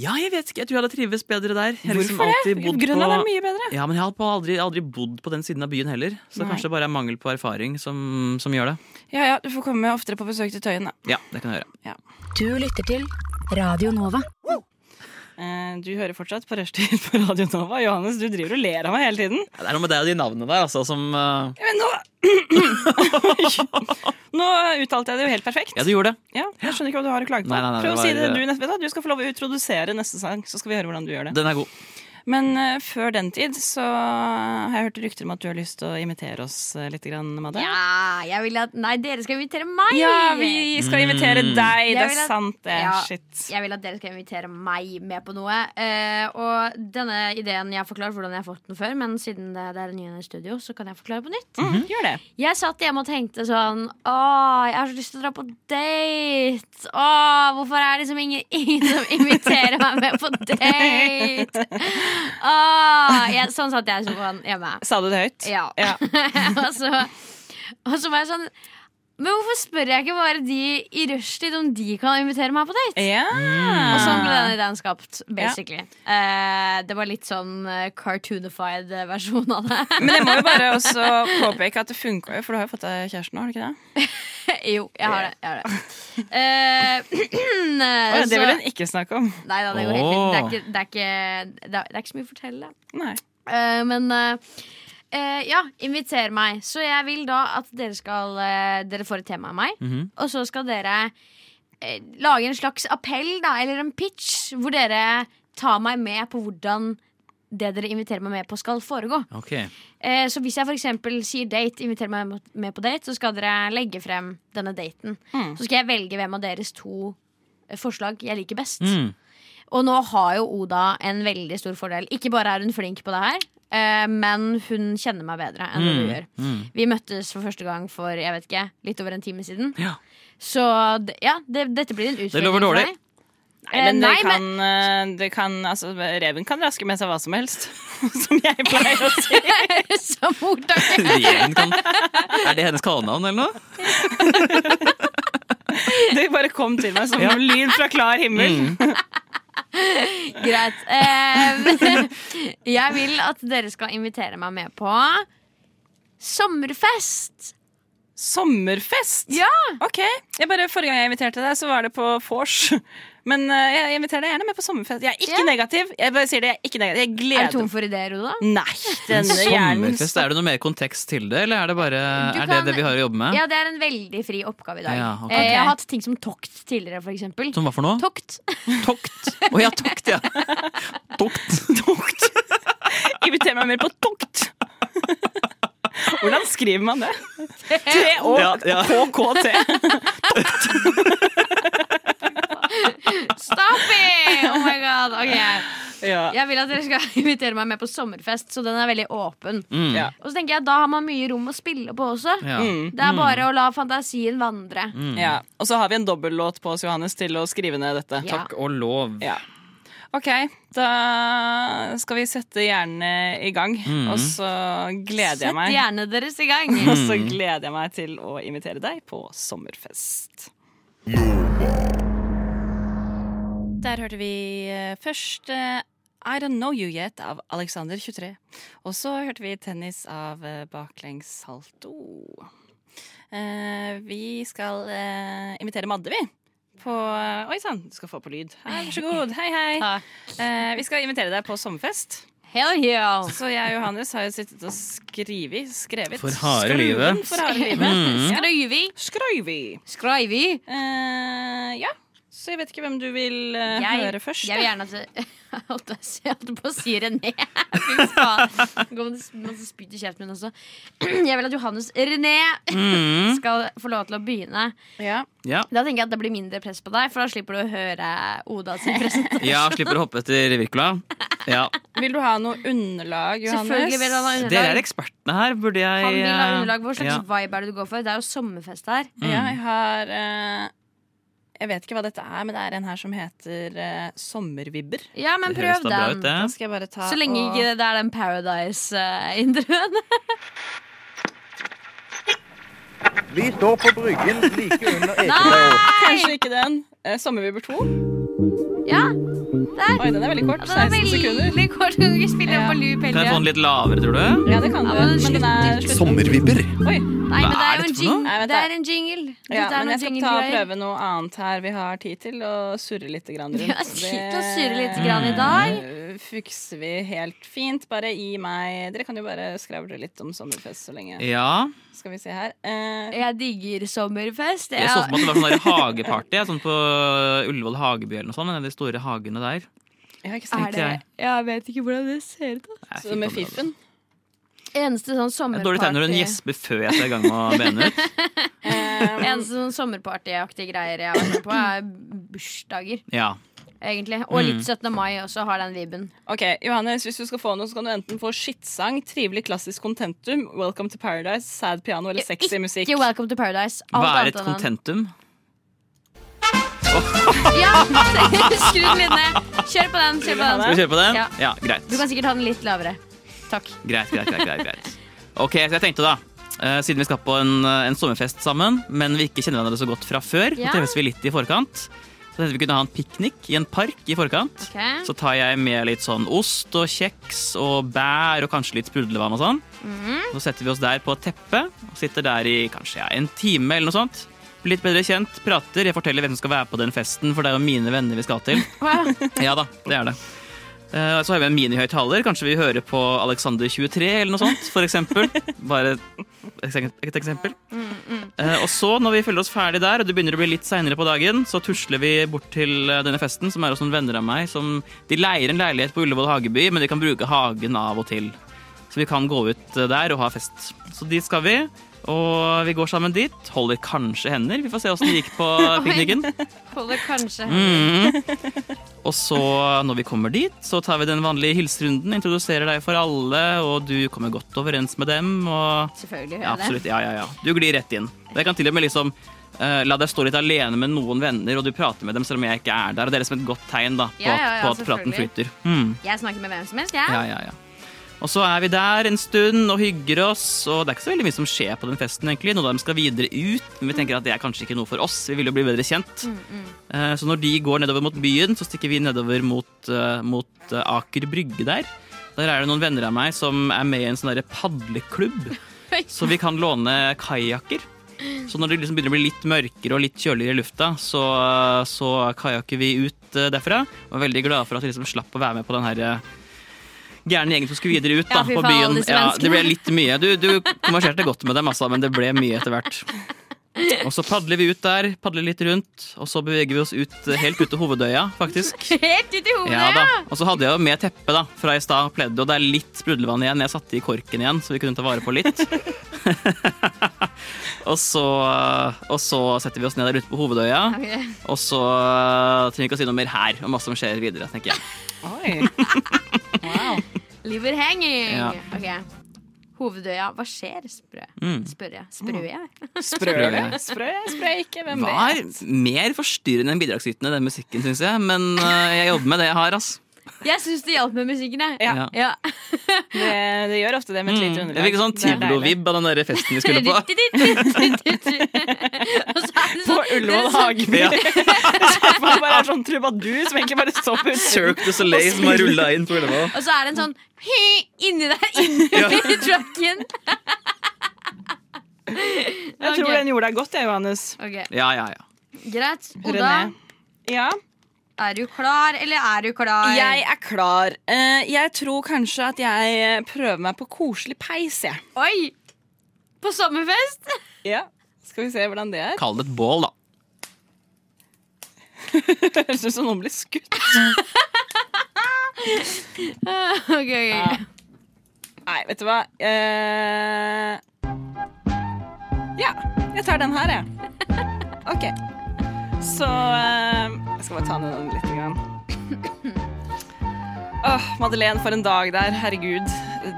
Speaker 5: ja, jeg vet ikke. Jeg tror jeg hadde trives bedre der. Jeg har liksom alltid bodd
Speaker 3: Grønland
Speaker 5: på-
Speaker 3: er mye bedre.
Speaker 5: Ja, men jeg har på- aldri, aldri bodd på den siden av byen heller. Så det
Speaker 3: Nei.
Speaker 5: kanskje bare er mangel på erfaring som, som gjør det.
Speaker 3: Ja, ja, Du får komme oftere på besøk til Tøyen. da
Speaker 5: Ja, det kan jeg gjøre.
Speaker 10: Du lytter til Radio Nova.
Speaker 3: Eh, Du hører fortsatt på Rushtid på Radio Nova. Johannes, du driver og ler av meg hele tiden.
Speaker 5: Ja, Det er noe med deg og de navnene der, altså, som eh,
Speaker 3: Ja, Men nå <laughs> Nå uttalte jeg det jo helt perfekt.
Speaker 5: Ja, du gjorde det.
Speaker 3: Ja, jeg skjønner ikke hva du har å klage på.
Speaker 5: Nei, nei, nei,
Speaker 3: Prøv
Speaker 5: det
Speaker 3: å si
Speaker 5: var-
Speaker 3: det du neste, vet du, hva, du skal få lov å introdusere neste sang, så skal vi høre hvordan du gjør det.
Speaker 5: Den er god.
Speaker 3: Men eh, før den tid så har jeg hørt rykter om at du har lyst til å imitere oss eh, litt, grann, Madde.
Speaker 4: Ja, jeg vil at Nei, dere skal invitere meg!
Speaker 3: Ja, vi skal
Speaker 5: Mm.
Speaker 3: invitere deg. Det
Speaker 4: Jeg
Speaker 3: er
Speaker 4: vil at-
Speaker 3: sant, det.
Speaker 4: Ja.
Speaker 3: Shit.
Speaker 4: Jeg vil at dere skal invitere meg med på noe. Eh, og denne ideen Jeg har forklart hvordan jeg har fått den før, men siden det, det er en ny i studio, så kan jeg forklare på nytt.
Speaker 5: Mhm.
Speaker 3: Mm, gjør det.
Speaker 4: Jeg satt hjemme og tenkte sånn Åh, jeg har så lyst til å dra på date. Åh, hvorfor er det liksom ingen, <laughs> ingen som inviterer meg med på date? Åh, jeg, sånn satt jeg i sofaen hjemme.
Speaker 3: Sa du det høyt?
Speaker 4: Ja.
Speaker 3: Ja.
Speaker 4: <laughs> og, så, og så var jeg sånn Men hvorfor spør jeg ikke bare de i rushtid om de kan invitere meg på date?
Speaker 3: Ja.
Speaker 4: Og sånn ble den ideen skapt, basically. Eh, det var litt sånn eh, cartoonified eh, versjon av det.
Speaker 3: Men jeg må jo bare også påpeke at det funka jo, for du har jo fått deg kjæresten nå, har du ikke det?
Speaker 4: <laughs> jo, jeg har det. Jeg har det. Eh,
Speaker 3: Å, det
Speaker 4: så-
Speaker 3: vil hun ikke snakke om.
Speaker 4: Nei da, det går helt fint. Det er ikke, det er ikke, det er, det er ikke så mye å fortelle.
Speaker 3: Nei.
Speaker 4: Eh, men eh, eh, ja, inviter meg. Så jeg vil da at dere skal eh, Dere får et tema av meg. Og så skal dere eh, lage en slags appell, da, eller en pitch, hvor dere tar meg med på hvordan det dere inviterer meg med på, skal foregå.
Speaker 5: Ok.
Speaker 4: Eh, så hvis jeg for eksempel sier date, inviterer meg mot- med på date, så skal dere legge frem denne daten.
Speaker 5: Mm.
Speaker 4: Så skal jeg velge hvem av deres to eh, forslag jeg liker best.
Speaker 5: Mm.
Speaker 4: Og nå har jo Oda en veldig stor fordel. Ikke bare er hun flink på det her, eh, men hun kjenner meg bedre enn det du gjør.
Speaker 5: Mm.
Speaker 4: Vi møttes for første gang for jeg vet ikke, litt over en time siden.
Speaker 5: Ja. <laughs>
Speaker 4: Så d- ja, det, dette blir en utfordring
Speaker 5: lover
Speaker 4: for
Speaker 5: dårlig.
Speaker 4: meg.
Speaker 3: Nei, men det
Speaker 4: nei,
Speaker 3: kan, eh, det kan altså, Reven kan raske med seg hva som helst, <laughs> som jeg pleier å si.
Speaker 4: <laughs> Som ordtaket.
Speaker 5: Reven kan <laughs> Er det hennes kallenavn eller noe?
Speaker 3: Det bare kom til meg som en lyd fra klar
Speaker 4: Mm.
Speaker 3: himmel.
Speaker 4: Greit. Eh, <laughs> jeg vil at dere skal invitere meg med på sommerfest.
Speaker 3: Sommerfest!
Speaker 4: Ja!
Speaker 3: Ok, jeg bare, Forrige gang jeg inviterte deg, så var det på vors. Men eh, jeg inviterer deg gjerne med på sommerfest. Jeg er ikke negativ. Jeg bare sier det, jeg er ikke negativ. Jeg gleder
Speaker 4: Er du tom for ideer, Oda?
Speaker 3: Nei, denne hjernen
Speaker 5: Sommerfest, er det noe mer kontekst til det, eller er det bare
Speaker 4: Du
Speaker 5: er det
Speaker 4: kan-
Speaker 5: det vi har å jobbe med?
Speaker 4: Ja, det er en veldig fri oppgave i dag.
Speaker 5: Ja, ok.
Speaker 4: Eh, Jeg har hatt ting som tokt tidligere, for eksempel.
Speaker 5: Som hva for noe?
Speaker 4: Tokt.
Speaker 5: Tokt. Å ja, tokt, ja. Tokt.
Speaker 3: Tokt. <laughs> Inviter meg mer på tokt. <laughs> Hvordan skriver man det?
Speaker 5: Ja, ja.
Speaker 3: T-O-K-T.
Speaker 4: Stop it! Oh my god. Ok.
Speaker 3: <laughs> Ja.
Speaker 4: Jeg vil at dere skal <laughs> invitere meg med på sommerfest, så den er veldig åpen.
Speaker 5: Mm.
Speaker 3: Ja.
Speaker 4: Og så tenker jeg, da har man mye rom å spille på også.
Speaker 5: Ja.
Speaker 3: Mm.
Speaker 4: Det er bare å la fantasien vandre.
Speaker 3: ja. Og så har vi en dobbellåt på oss, Johannes, til å skrive ned dette.
Speaker 4: Ja.
Speaker 5: Takk og lov.
Speaker 3: Ja. OK, da skal vi sette hjernene i gang. Og så gleder jeg
Speaker 4: Sett
Speaker 3: meg.
Speaker 4: gjerne deres i gang.
Speaker 3: <laughs> Og
Speaker 5: Mm.
Speaker 3: så gleder jeg meg til å invitere deg på sommerfest. Der hørte vi eh, først eh, I Don't Know You Yet av Alexander 23. Og så hørte vi tennis av eh, Baklengs Salto. Eh, vi skal eh, invitere Madde, vi. På Oi sann, du skal få på lyd. Hei, vær så god. Hei, hei.
Speaker 4: Takk.
Speaker 3: Eh, vi skal invitere deg på sommerfest.
Speaker 4: Hell yeah.
Speaker 3: Så jeg og Johannes har jo sittet og skrevet. skrevet
Speaker 5: For harde livet. Mm.
Speaker 3: Skruven For harde livet. Ja.
Speaker 4: Skrøyvi.
Speaker 3: Skrøyvi.
Speaker 4: Skrøyvi.
Speaker 3: Eh, ja, så jeg vet ikke hvem du vil eh, høre først.
Speaker 4: Jeg vil gjerne at <laughs> det- at jeg ser- holdt på å si René. <laughs> Fy faen. Det kommer masse spyt i kjeften min også. <clears throat> Jeg vil at Johannes René
Speaker 5: Mm.
Speaker 4: <laughs> skal få lov til å begynne.
Speaker 3: Ja.
Speaker 5: Ja.
Speaker 4: Da tenker jeg at det blir mindre press på deg, for da slipper du å høre Oda sin
Speaker 5: <laughs>
Speaker 4: presentasjon.
Speaker 5: ja, slipper å hoppe etter Wirkola. Ja.
Speaker 3: Vil du ha noe underlag, Johannes?
Speaker 4: Selvfølgelig vil han ha
Speaker 5: Dere er
Speaker 4: underlag.
Speaker 5: ekspertene her, burde jeg
Speaker 4: Han vil ha
Speaker 5: eh,
Speaker 4: underlag. Hva slags
Speaker 5: ja.
Speaker 4: vibe er det du går for? Det er jo sommerfest her.
Speaker 5: Mm.
Speaker 3: Ja, jeg har eh, Jeg vet ikke hva dette er, men det er en her som heter eh, Sommervibber.
Speaker 4: Ja, men
Speaker 5: Det høres
Speaker 4: prøv
Speaker 5: da bra ut,
Speaker 4: den.
Speaker 3: Da
Speaker 5: det.
Speaker 3: skal jeg bare ta
Speaker 4: Så lenge
Speaker 3: og-
Speaker 4: ikke det er den eh, Paradise-introen.
Speaker 9: Vi står på bryggen like under
Speaker 3: Kanskje ikke den. Eh, Sommervibber 2.
Speaker 4: <laughs> ja, altså,
Speaker 3: Oi, den er veldig kort.
Speaker 4: det var
Speaker 3: 16 sekunder.
Speaker 4: veldig kort. Du kan ikke spille den på loop
Speaker 5: Kan jeg få
Speaker 4: heller.
Speaker 5: den litt lavere, tror du?
Speaker 3: Ja, det kan du.
Speaker 4: Ja, men den
Speaker 3: Men den er slutt.
Speaker 9: Sommervibber.
Speaker 3: Oi.
Speaker 4: Nei, men
Speaker 5: Hva
Speaker 4: det
Speaker 5: er
Speaker 4: er jo en
Speaker 5: dette for noe?
Speaker 4: jingle.
Speaker 3: Nei, vent
Speaker 4: Det
Speaker 3: da.
Speaker 4: er en jingle.
Speaker 3: Ja,
Speaker 4: Dette er
Speaker 3: men
Speaker 4: noen
Speaker 3: jeg skal ta og
Speaker 4: jingle-greier.
Speaker 3: prøve noe annet her vi har tid til, og surre litt grann rundt.
Speaker 4: Vi <laughs> har tid til å
Speaker 3: Det,
Speaker 4: surre litt grann i dag.
Speaker 3: eh, Fikser vi helt fint. Bare gi meg Dere kan jo bare skravle litt om sommerfest så lenge.
Speaker 5: Ja.
Speaker 3: Skal vi se her. Eh,
Speaker 4: Jeg digger sommerfest.
Speaker 5: Jeg så for meg at det var sånn der hageparty, jeg, sånn på Ullevål hageby eller noe sånt. en av De store hagene der.
Speaker 3: ja, ikke
Speaker 4: er
Speaker 3: sant?
Speaker 4: det?
Speaker 5: jeg.
Speaker 4: Jeg vet ikke hvordan det ser ut.
Speaker 5: Nei, fy
Speaker 3: Så med
Speaker 5: faen, det
Speaker 4: <laughs>
Speaker 5: var-
Speaker 3: fiffen.
Speaker 4: Eneste sånn
Speaker 5: Det er Dårlig tegn når hun
Speaker 4: sommerparty
Speaker 5: gjesper før jeg skal i
Speaker 4: <laughs>
Speaker 5: gang med å bene ut.
Speaker 3: Eh,
Speaker 4: Eneste sånn sommerpartyaktige greier jeg har vært med på, er bursdager.
Speaker 5: Ja.
Speaker 4: egentlig
Speaker 5: Mm.
Speaker 4: Og litt 17. mai også har den vibben.
Speaker 3: ok, Johannes, hvis du skal få noe, så kan du enten få skittsang, trivelig klassisk contentum, Welcome to Paradise, sad piano eller sexy musikk.
Speaker 4: Ikke Welcome to Paradise.
Speaker 5: Hva er
Speaker 4: Alt
Speaker 5: et
Speaker 4: annet enn den.
Speaker 5: kontentum?
Speaker 4: Ja, <laughs> Skru den litt ned. Kjør på den. kjør på
Speaker 5: Skal vi
Speaker 4: den
Speaker 5: kjøre på den?
Speaker 4: Ja.
Speaker 5: Ja, greit.
Speaker 4: Du kan sikkert ha den litt lavere. Takk.
Speaker 5: Greit, greit, greit, greit, greit. Ok, så jeg tenkte da eh, Siden vi skal på en, en sommerfest sammen Men vi ikke kjenner hverandre så godt fra før
Speaker 4: Ja.
Speaker 5: Så treffes vi litt i forkant Så tenkte vi kunne ha en piknik i en park i forkant
Speaker 4: Ok.
Speaker 5: Så tar jeg med litt sånn ost og kjeks Og bær og kanskje litt sprudlevann og sånn
Speaker 4: Mhm.
Speaker 5: Så setter vi oss der på et teppe Og sitter der i kanskje ja, en time eller noe sånt Blir litt bedre kjent, prater Jeg forteller hvem som skal være på den festen For det er jo mine venner vi skal til <laughs> ja da, det er det. Eh, så har vi en minihøyttaler. Kanskje vi hører på Alexander 23 eller noe sånt, for eksempel. Bare et ekse- et eksempel. Eh, og så, når vi føler oss ferdig der, og det begynner å bli litt seinere på dagen, så tusler vi bort til eh, denne festen, som er hos noen venner av meg. Som, de leier en leilighet på Ullevål hageby, men de kan bruke hagen av og til. Så vi kan gå ut eh, der og ha fest. Så dit skal vi. Og vi går sammen dit. Holder kanskje hender. Vi får se åssen det gikk på pikniken.
Speaker 4: Holder kanskje.
Speaker 5: Mm. Og så, når vi kommer dit, så tar vi den vanlige hilserunden, introduserer deg for alle, og du kommer godt overens med dem, og
Speaker 4: Selvfølgelig.
Speaker 5: ja,
Speaker 4: gjør jeg det.
Speaker 5: absolutt, ja, ja, ja. Du glir rett inn. Jeg kan til og med liksom eh, la deg stå litt alene med noen venner, og du prater med dem selv om jeg ikke er der, og det er liksom et godt tegn da, på,
Speaker 4: Ja, ja, ja,
Speaker 5: at- på at praten
Speaker 4: selvfølgelig.
Speaker 5: flyter. Mm.
Speaker 4: Jeg snakker med hvem som helst, jeg.
Speaker 5: Ja, ja, ja. Og så er vi der en stund og hygger oss, og det er ikke så veldig mye som skjer på den festen. egentlig. Noen av dem skal videre ut, men vi tenker at det er kanskje ikke noe for oss. Vi vil jo bli bedre kjent. Eh, Så når de går nedover mot byen, så stikker vi nedover mot, eh, mot eh, Aker Brygge der. Der er det noen venner av meg som er med i en sånn derre padleklubb, så vi kan låne kajakker. Så når det liksom begynner å bli litt mørkere og litt kjøligere i lufta, så, så kajakker vi ut eh, derfra. Og er veldig glade for at vi liksom slapp å være med på den her eh, gærne gjengen som skulle videre ut da,
Speaker 4: Ja, fy
Speaker 5: på
Speaker 4: faen, alle
Speaker 5: byen.
Speaker 4: disse
Speaker 5: Ja,
Speaker 4: menneskene.
Speaker 5: det ble litt mye. Du, du konverserte godt med dem, altså, men det ble mye etter hvert. Og så padler vi ut der, padler litt rundt, og så beveger vi oss ut, eh, helt ut til hovedøya, faktisk.
Speaker 4: Helt ut i hodet!
Speaker 5: Ja da, Og så hadde jeg jo med teppe da, fra i stad, pledde, og det er litt sprudlevann igjen. Jeg satte i korken igjen, så vi kunne ta vare på litt. <laughs> og, så, og så setter vi oss ned der ute på hovedøya,
Speaker 4: Ok.
Speaker 5: og så eh, trenger vi ikke å si noe mer her om hva som skjer videre, tenker jeg.
Speaker 3: Oi.
Speaker 4: Liver hanging.
Speaker 5: Ja.
Speaker 4: Ok. Hovedøya. Hva skjer? Sprø.
Speaker 5: Mm.
Speaker 4: Spør jeg. Sprø jeg? <laughs>
Speaker 3: Sprø
Speaker 5: Sprø.
Speaker 3: Sprø, sprø ikke, hvem
Speaker 5: Var
Speaker 3: vet?
Speaker 5: mer forstyrrende enn bidragsytende, den musikken, syns jeg, men eh, jeg jobber med det jeg har, ass.
Speaker 4: Jeg syns det hjalp med musikken, jeg.
Speaker 3: Ja.
Speaker 4: Ja.
Speaker 3: Det, det gjør ofte det med et lite
Speaker 5: Jeg
Speaker 3: underlag.
Speaker 5: fikk en
Speaker 3: Mm.
Speaker 5: sånn
Speaker 3: Det er deilig.
Speaker 5: Tivolo-vibb av den der festen vi
Speaker 4: <laughs>
Speaker 5: skulle på.
Speaker 4: Og så er det
Speaker 3: På
Speaker 4: sånn- det
Speaker 3: Ullevål
Speaker 4: er sånn-
Speaker 3: Hageby. <laughs> Så man bare er sånn trubadur som egentlig bare står på utsiden.
Speaker 5: Cirque du Soleil som har rulla inn på
Speaker 4: <laughs>
Speaker 5: Ullevål.
Speaker 4: Og så er det en sånn inni
Speaker 5: <laughs>
Speaker 4: der, inni trucken.
Speaker 3: Jeg tror den gjorde deg godt, jeg, Johannes.
Speaker 4: Ok,
Speaker 5: Ja, ja, ja.
Speaker 4: Greit. Og da
Speaker 3: René. Ja.
Speaker 4: er du klar, eller er du klar?
Speaker 3: Jeg er klar. Eh, Jeg tror kanskje at jeg eh, prøver meg på koselig peis, jeg.
Speaker 4: Oi! På sommerfest? <laughs>
Speaker 3: Ja. Skal vi se hvordan det er.
Speaker 5: Kall det et bål, da.
Speaker 3: <laughs> Det Høres ut som noen blir skutt.
Speaker 4: Ok, ok.
Speaker 3: Nei, vet du hva. Eh, Ja, jeg tar den her, jeg. <laughs> OK. Så eh, Jeg skal bare ta ned den litt. Grann. <clears throat> Åh, Madeleine, for en dag der. Herregud.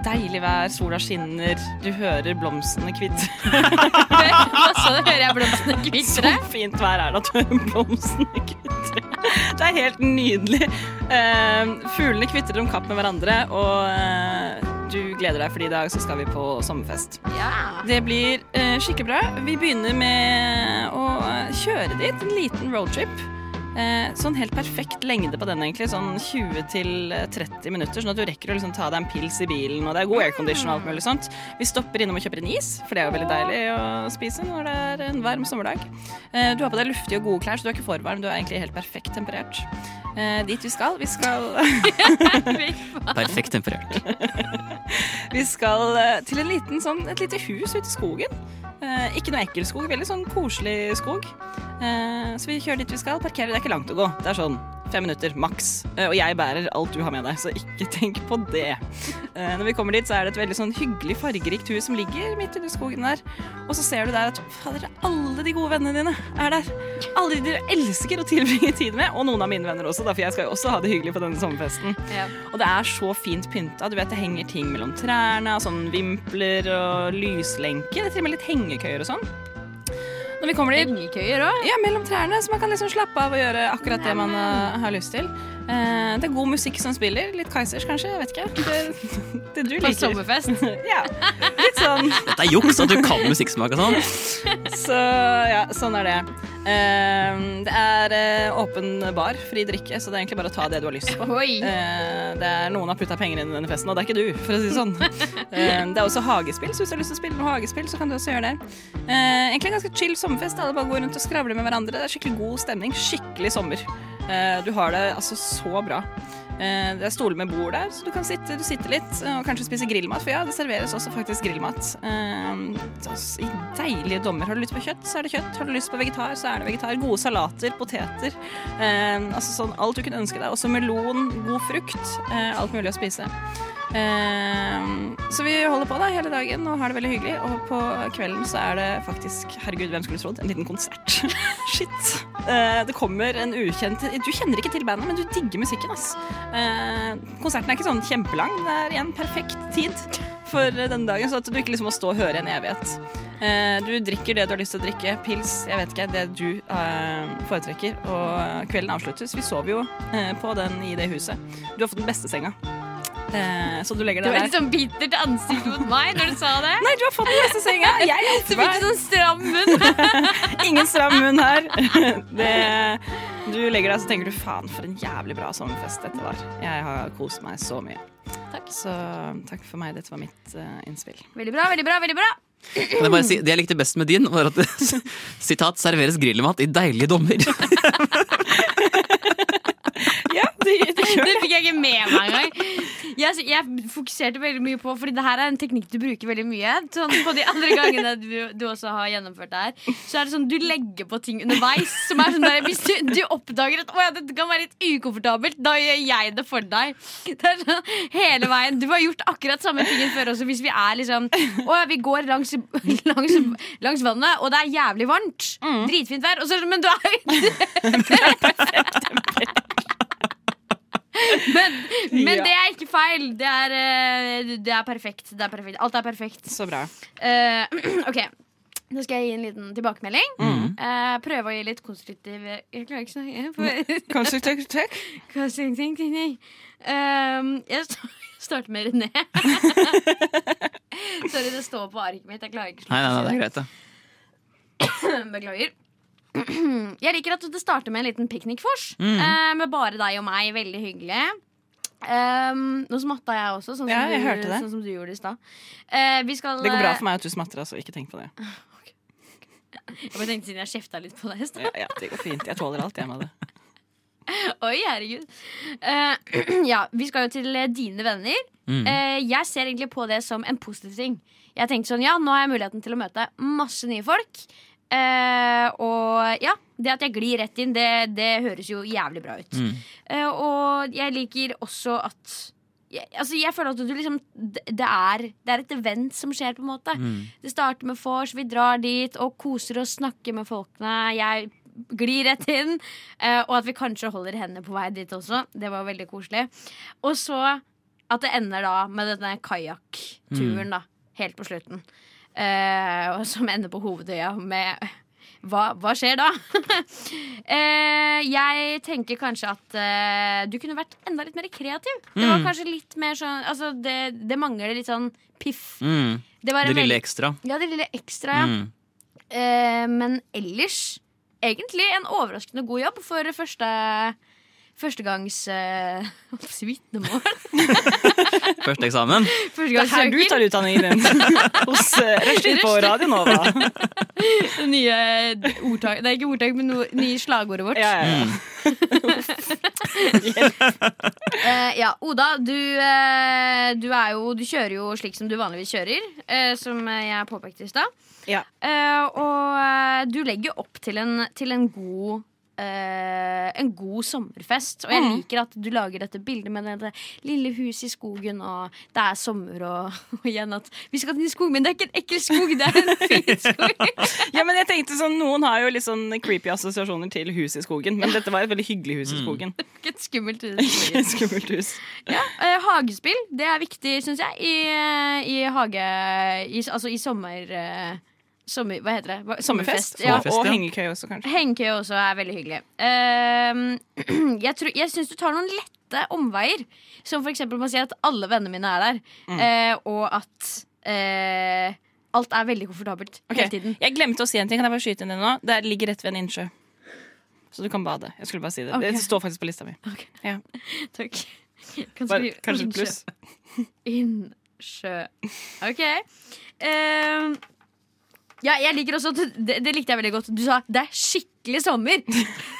Speaker 3: Deilig vær, sola skinner, du hører blomstene kvitre.
Speaker 4: <laughs> Hva sa du? Hører jeg blomstene
Speaker 3: <laughs> Så
Speaker 4: kvitre?
Speaker 3: fint vær er det at blomstene kvitrer. <laughs> Det er helt nydelig. Eh, Fuglene kvitrer om kapp med hverandre, og eh, du gleder deg, for i dag så skal vi på sommerfest.
Speaker 4: Ja.
Speaker 3: Det blir eh, skikkelig bra. Vi begynner med å eh, kjøre dit, en liten roadtrip. Eh, sånn helt perfekt lengde på den, egentlig. Sånn 20-30 minutter, sånn at du rekker å liksom ta deg en pils i bilen, og det er god aircondition og alt mulig sånt. Vi stopper innom og kjøper en is, for det er jo veldig deilig å spise når det er en varm sommerdag. Eh, du har på deg luftige og gode klær, så du er ikke for varm. Du er egentlig helt perfekt temperert. Eh, dit vi skal. Vi skal
Speaker 5: Perfekt temperert.
Speaker 3: Vi skal eh, til en liten, sånn, et lite hus ute i skogen. Eh, ikke noe ekkel skog, veldig sånn koselig skog. Eh, så vi kjører dit vi skal, parkerer. Det er ikke langt å gå. Det er sånn fem minutter maks. Eh, og jeg bærer alt du har med deg, så ikke <laughs> tenk på det. Eh, når vi kommer dit, så er det et veldig sånn hyggelig, fargerikt hus som ligger midt ute i skogen der. Og så ser du der at fader, alle de gode vennene dine er der. Alle de du elsker å tilbringe tid med. Og noen av mine venner også, da, for jeg skal jo også ha det hyggelig på denne sommerfesten.
Speaker 4: Ja.
Speaker 3: Og det er så fint pynta. Du vet, Det henger ting mellom trærne, og sånn vimpler og lyslenker. Det er til og med litt hengekøyer og sånn. Når vi kommer dit
Speaker 4: Engekøyer òg?
Speaker 3: ja, mellom trærne, så man kan liksom slappe av og gjøre akkurat det man eh, har lyst til. Eh, det er god musikk som spiller. Litt Kaizers, kanskje? Jeg vet ikke. Det, det du
Speaker 4: På
Speaker 3: liker.
Speaker 4: sommerfest?
Speaker 3: Ja, litt sånn.
Speaker 5: Dette er juks at du kan musikksmak og sånn.
Speaker 3: Så ja, sånn er det. Eh, det er eh, åpen bar, fri drikke, så det er egentlig bare å ta det du har lyst på.
Speaker 4: <laughs> Oi.
Speaker 3: Eh, det er noen har putta penger inn i denne festen, og det er ikke du, for å si det sånn. Eh, det er også hagespill, så hvis du har lyst til å spille noe hagespill, så kan du også gjøre det. Eh, egentlig en ganske chill sommerfest. Alle bare går rundt og skravler med hverandre. Det er skikkelig god stemning. Skikkelig sommer. Eh, du har det altså så bra. Eh, Det er stoler med bord der, så du kan sitte, du sitter litt eh, og kanskje spise grillmat. For ja, det serveres også faktisk grillmat. Eh, så- I deilige dommer. Har du lyst på kjøtt, så er det kjøtt. Har du lyst på vegetar, så er det vegetar. Gode salater, poteter. Eh, Altså sånn alt du kunne ønske deg. Også melon, god frukt. eh, Alt mulig å spise. Eh, Så vi holder på da hele dagen og har det veldig hyggelig. Og på kvelden så er det faktisk, herregud, hvem skulle trodd, en liten konsert. <laughs> Shit. Eh, Det kommer en ukjent Du kjenner ikke til bandet, men du digger musikken, ass. Eh, konserten er ikke sånn kjempelang. Det er en perfekt tid for eh, denne dagen, så at du ikke liksom må stå og høre i en evighet. Eh, du drikker det du har lyst til å drikke. Pils, jeg vet ikke, det du eh, foretrekker. Og eh, kvelden avsluttes. Vi sover jo eh, på den i det huset. Du har fått den beste senga. Eh, så du legger
Speaker 4: Det
Speaker 3: deg
Speaker 4: var
Speaker 3: der.
Speaker 4: litt sånn bittert ansikt mot meg når du sa det.
Speaker 3: Nei, du har fått den beste senga! <laughs> Jeg
Speaker 4: Så
Speaker 3: hjelper
Speaker 4: fikk
Speaker 3: deg.
Speaker 4: du sånn stram munn. <laughs>
Speaker 3: Ingen stram munn her. <laughs> Det, du legger deg så tenker du faen, for en jævlig bra sommerfest dette var. Jeg har kost meg så mye.
Speaker 4: Takk.
Speaker 3: Så takk for meg. Dette var mitt eh, innspill.
Speaker 4: Veldig bra, veldig bra, veldig bra.
Speaker 5: Kan jeg bare si, det jeg likte best med din, var at det <laughs> sitat, 'serveres grillmat i deilige dommer'.
Speaker 3: <laughs>
Speaker 5: <laughs>
Speaker 3: Ja, det, det
Speaker 4: Det fikk jeg ikke med meg engang. Jeg, sy- jeg fokuserte veldig mye på Fordi det her er en teknikk du bruker veldig mye. Sånn På de andre gangene du, du også har gjennomført det her. Så er det sånn du legger på ting underveis. Som er sånn der, Hvis du, du oppdager at Å ja, dette kan være litt ukomfortabelt, da gjør jeg det for deg. Det er sånn hele veien Du har gjort akkurat samme tingen før også. Hvis vi er liksom Å ja, vi går langs, <laughs> langs, langs vannet, og det er jævlig varmt. Dritfint vær. Og så, er det sånn, men du er <laughs> Men, men
Speaker 3: Ja.
Speaker 4: det er ikke feil. Det er, eh, det er perfekt. Det er perfekt. Alt er perfekt.
Speaker 3: Så bra.
Speaker 4: Eh, <clears throat> ok, nå skal jeg gi en liten tilbakemelding. Eh, prøve å gi litt konstruktiv Jeg klarer ikke å snakke. <laughs> For-
Speaker 3: Kanskje tøkk, tøkk.
Speaker 4: Ting, ting, ting, ting. Ehm, <laughs> jeg sta- starter
Speaker 3: <laughs>
Speaker 4: med René. Sorry, det står på arket mitt. Jeg klarer ikke å
Speaker 5: Nei, nei, nei, det
Speaker 4: slutte
Speaker 5: er
Speaker 4: å si
Speaker 5: greit, det.
Speaker 4: det. <clears throat> Beklager. Jeg liker at det starter med en liten piknikvors.
Speaker 3: Mm.
Speaker 4: eh, med bare deg og meg. Veldig hyggelig. Ehm, nå smatta jeg også, sånn som,
Speaker 3: Ja, jeg
Speaker 4: du,
Speaker 3: hørte det.
Speaker 4: Sånn som du gjorde i stad. Eh, vi skal
Speaker 3: Det går bra for meg at du smatter, altså. Ikke tenk på det.
Speaker 4: Jeg bare tenkte siden jeg kjefta litt på deg i stad.
Speaker 3: Ja, ja, det går fint. Jeg tåler alt, jeg med det.
Speaker 4: Oi, herregud. Eh, <clears throat> ja, vi skal jo til eh, dine venner.
Speaker 5: Mm,
Speaker 4: Eh, jeg ser egentlig på det som en positiv ting. Jeg tenkte sånn, ja, nå har jeg muligheten til å møte masse nye folk. Eh, og ja, det at jeg glir rett inn, det, det høres jo jævlig bra ut.
Speaker 5: Mm.
Speaker 4: Eh, og jeg liker også at jeg, altså jeg føler at du liksom det, det er, det er et event som skjer, på en måte.
Speaker 5: mm,
Speaker 4: Det starter med vors, vi drar dit og koser oss, snakker med folkene. Jeg glir rett inn. eh, og at vi kanskje holder hendene på vei dit også. Det var veldig koselig. Og så at det ender da med denne
Speaker 5: Mm.
Speaker 4: kajakkturen, da. Helt på slutten. Eh, og som ender på Hovedøya med hva, hva skjer da? <laughs> eh, jeg tenker kanskje at eh, du kunne vært enda litt mer kreativ. Det
Speaker 5: Mm.
Speaker 4: var kanskje litt mer sånn Altså, det, det mangler litt sånn piff.
Speaker 5: Mm.
Speaker 4: Det, var
Speaker 5: Det
Speaker 4: en
Speaker 5: lille
Speaker 4: veld-
Speaker 5: ekstra.
Speaker 4: Ja, det lille ekstra, ja.
Speaker 5: Mm.
Speaker 4: Eh, men ellers egentlig en overraskende god jobb for første Førstegangs <laughs> uh,
Speaker 3: <laughs>
Speaker 4: vitnemål.
Speaker 5: Første eksamen.
Speaker 3: Det er her du
Speaker 4: Førstegangssøker.
Speaker 3: tar utdanningen din. <laughs> Hos eh, Rushdie på Radio Nova.
Speaker 4: Det nye eh, ordtak Nei, ikke ordtak, men no, nye slagordet vårt.
Speaker 3: Ja, ja, ja.
Speaker 4: Eh, ja, Oda, du, eh, du, er jo, du kjører jo slik som du vanligvis kjører, eh, som eh, jeg påpekte i stad.
Speaker 3: Ja.
Speaker 4: Eh, og eh, du legger jo opp til en, til en god eh, en god sommerfest. Og jeg liker at du lager dette bildet med det lille huset i skogen, og det er sommer, og, <laughs> og igjen at Vi skal til skogen, men det er ikke en ekkel skog, det er en fin skog. <laughs>
Speaker 3: ja, men jeg tenkte sånn, Noen har jo litt sånn creepy assosiasjoner til hus i skogen, men dette var et veldig hyggelig hus i
Speaker 4: <laughs>
Speaker 3: skogen.
Speaker 4: Ikke et skummelt hus.
Speaker 3: Ikke et skummelt hus.
Speaker 4: Eh, hagespill det er viktig, syns jeg, i, eh, i hage... I, altså i sommer... eh, sommer hva heter det? Hva-
Speaker 3: Sommerfest.
Speaker 4: Ja.
Speaker 5: Sommerfest,
Speaker 3: og
Speaker 5: ja.
Speaker 3: hengekøye også, kanskje.
Speaker 4: Hengekøy også er veldig hyggelig. Eh, <clears throat> jeg tror- jeg syns du tar noen lette omveier. Som for eksempel man sier at alle vennene mine er der,
Speaker 3: Mm.
Speaker 4: eh, og at eh, alt er veldig komfortabelt
Speaker 3: Ok,
Speaker 4: hele tiden.
Speaker 3: Jeg glemte å si en ting. Kan jeg bare skyte inn det nå? Det ligger rett ved en innsjø. Så du kan bade. Jeg skulle bare si det.
Speaker 4: Ok.
Speaker 3: Det står faktisk på lista mi.
Speaker 4: Takk. <laughs> Kan
Speaker 3: Bare,
Speaker 4: skrive
Speaker 3: kanskje et
Speaker 4: innsjø.
Speaker 3: pluss.
Speaker 4: Innsjø. OK. Ehm, ja, jeg liker også at du, det, det likte jeg veldig godt. Du sa 'det er skikkelig
Speaker 3: <laughs>
Speaker 4: sommer'.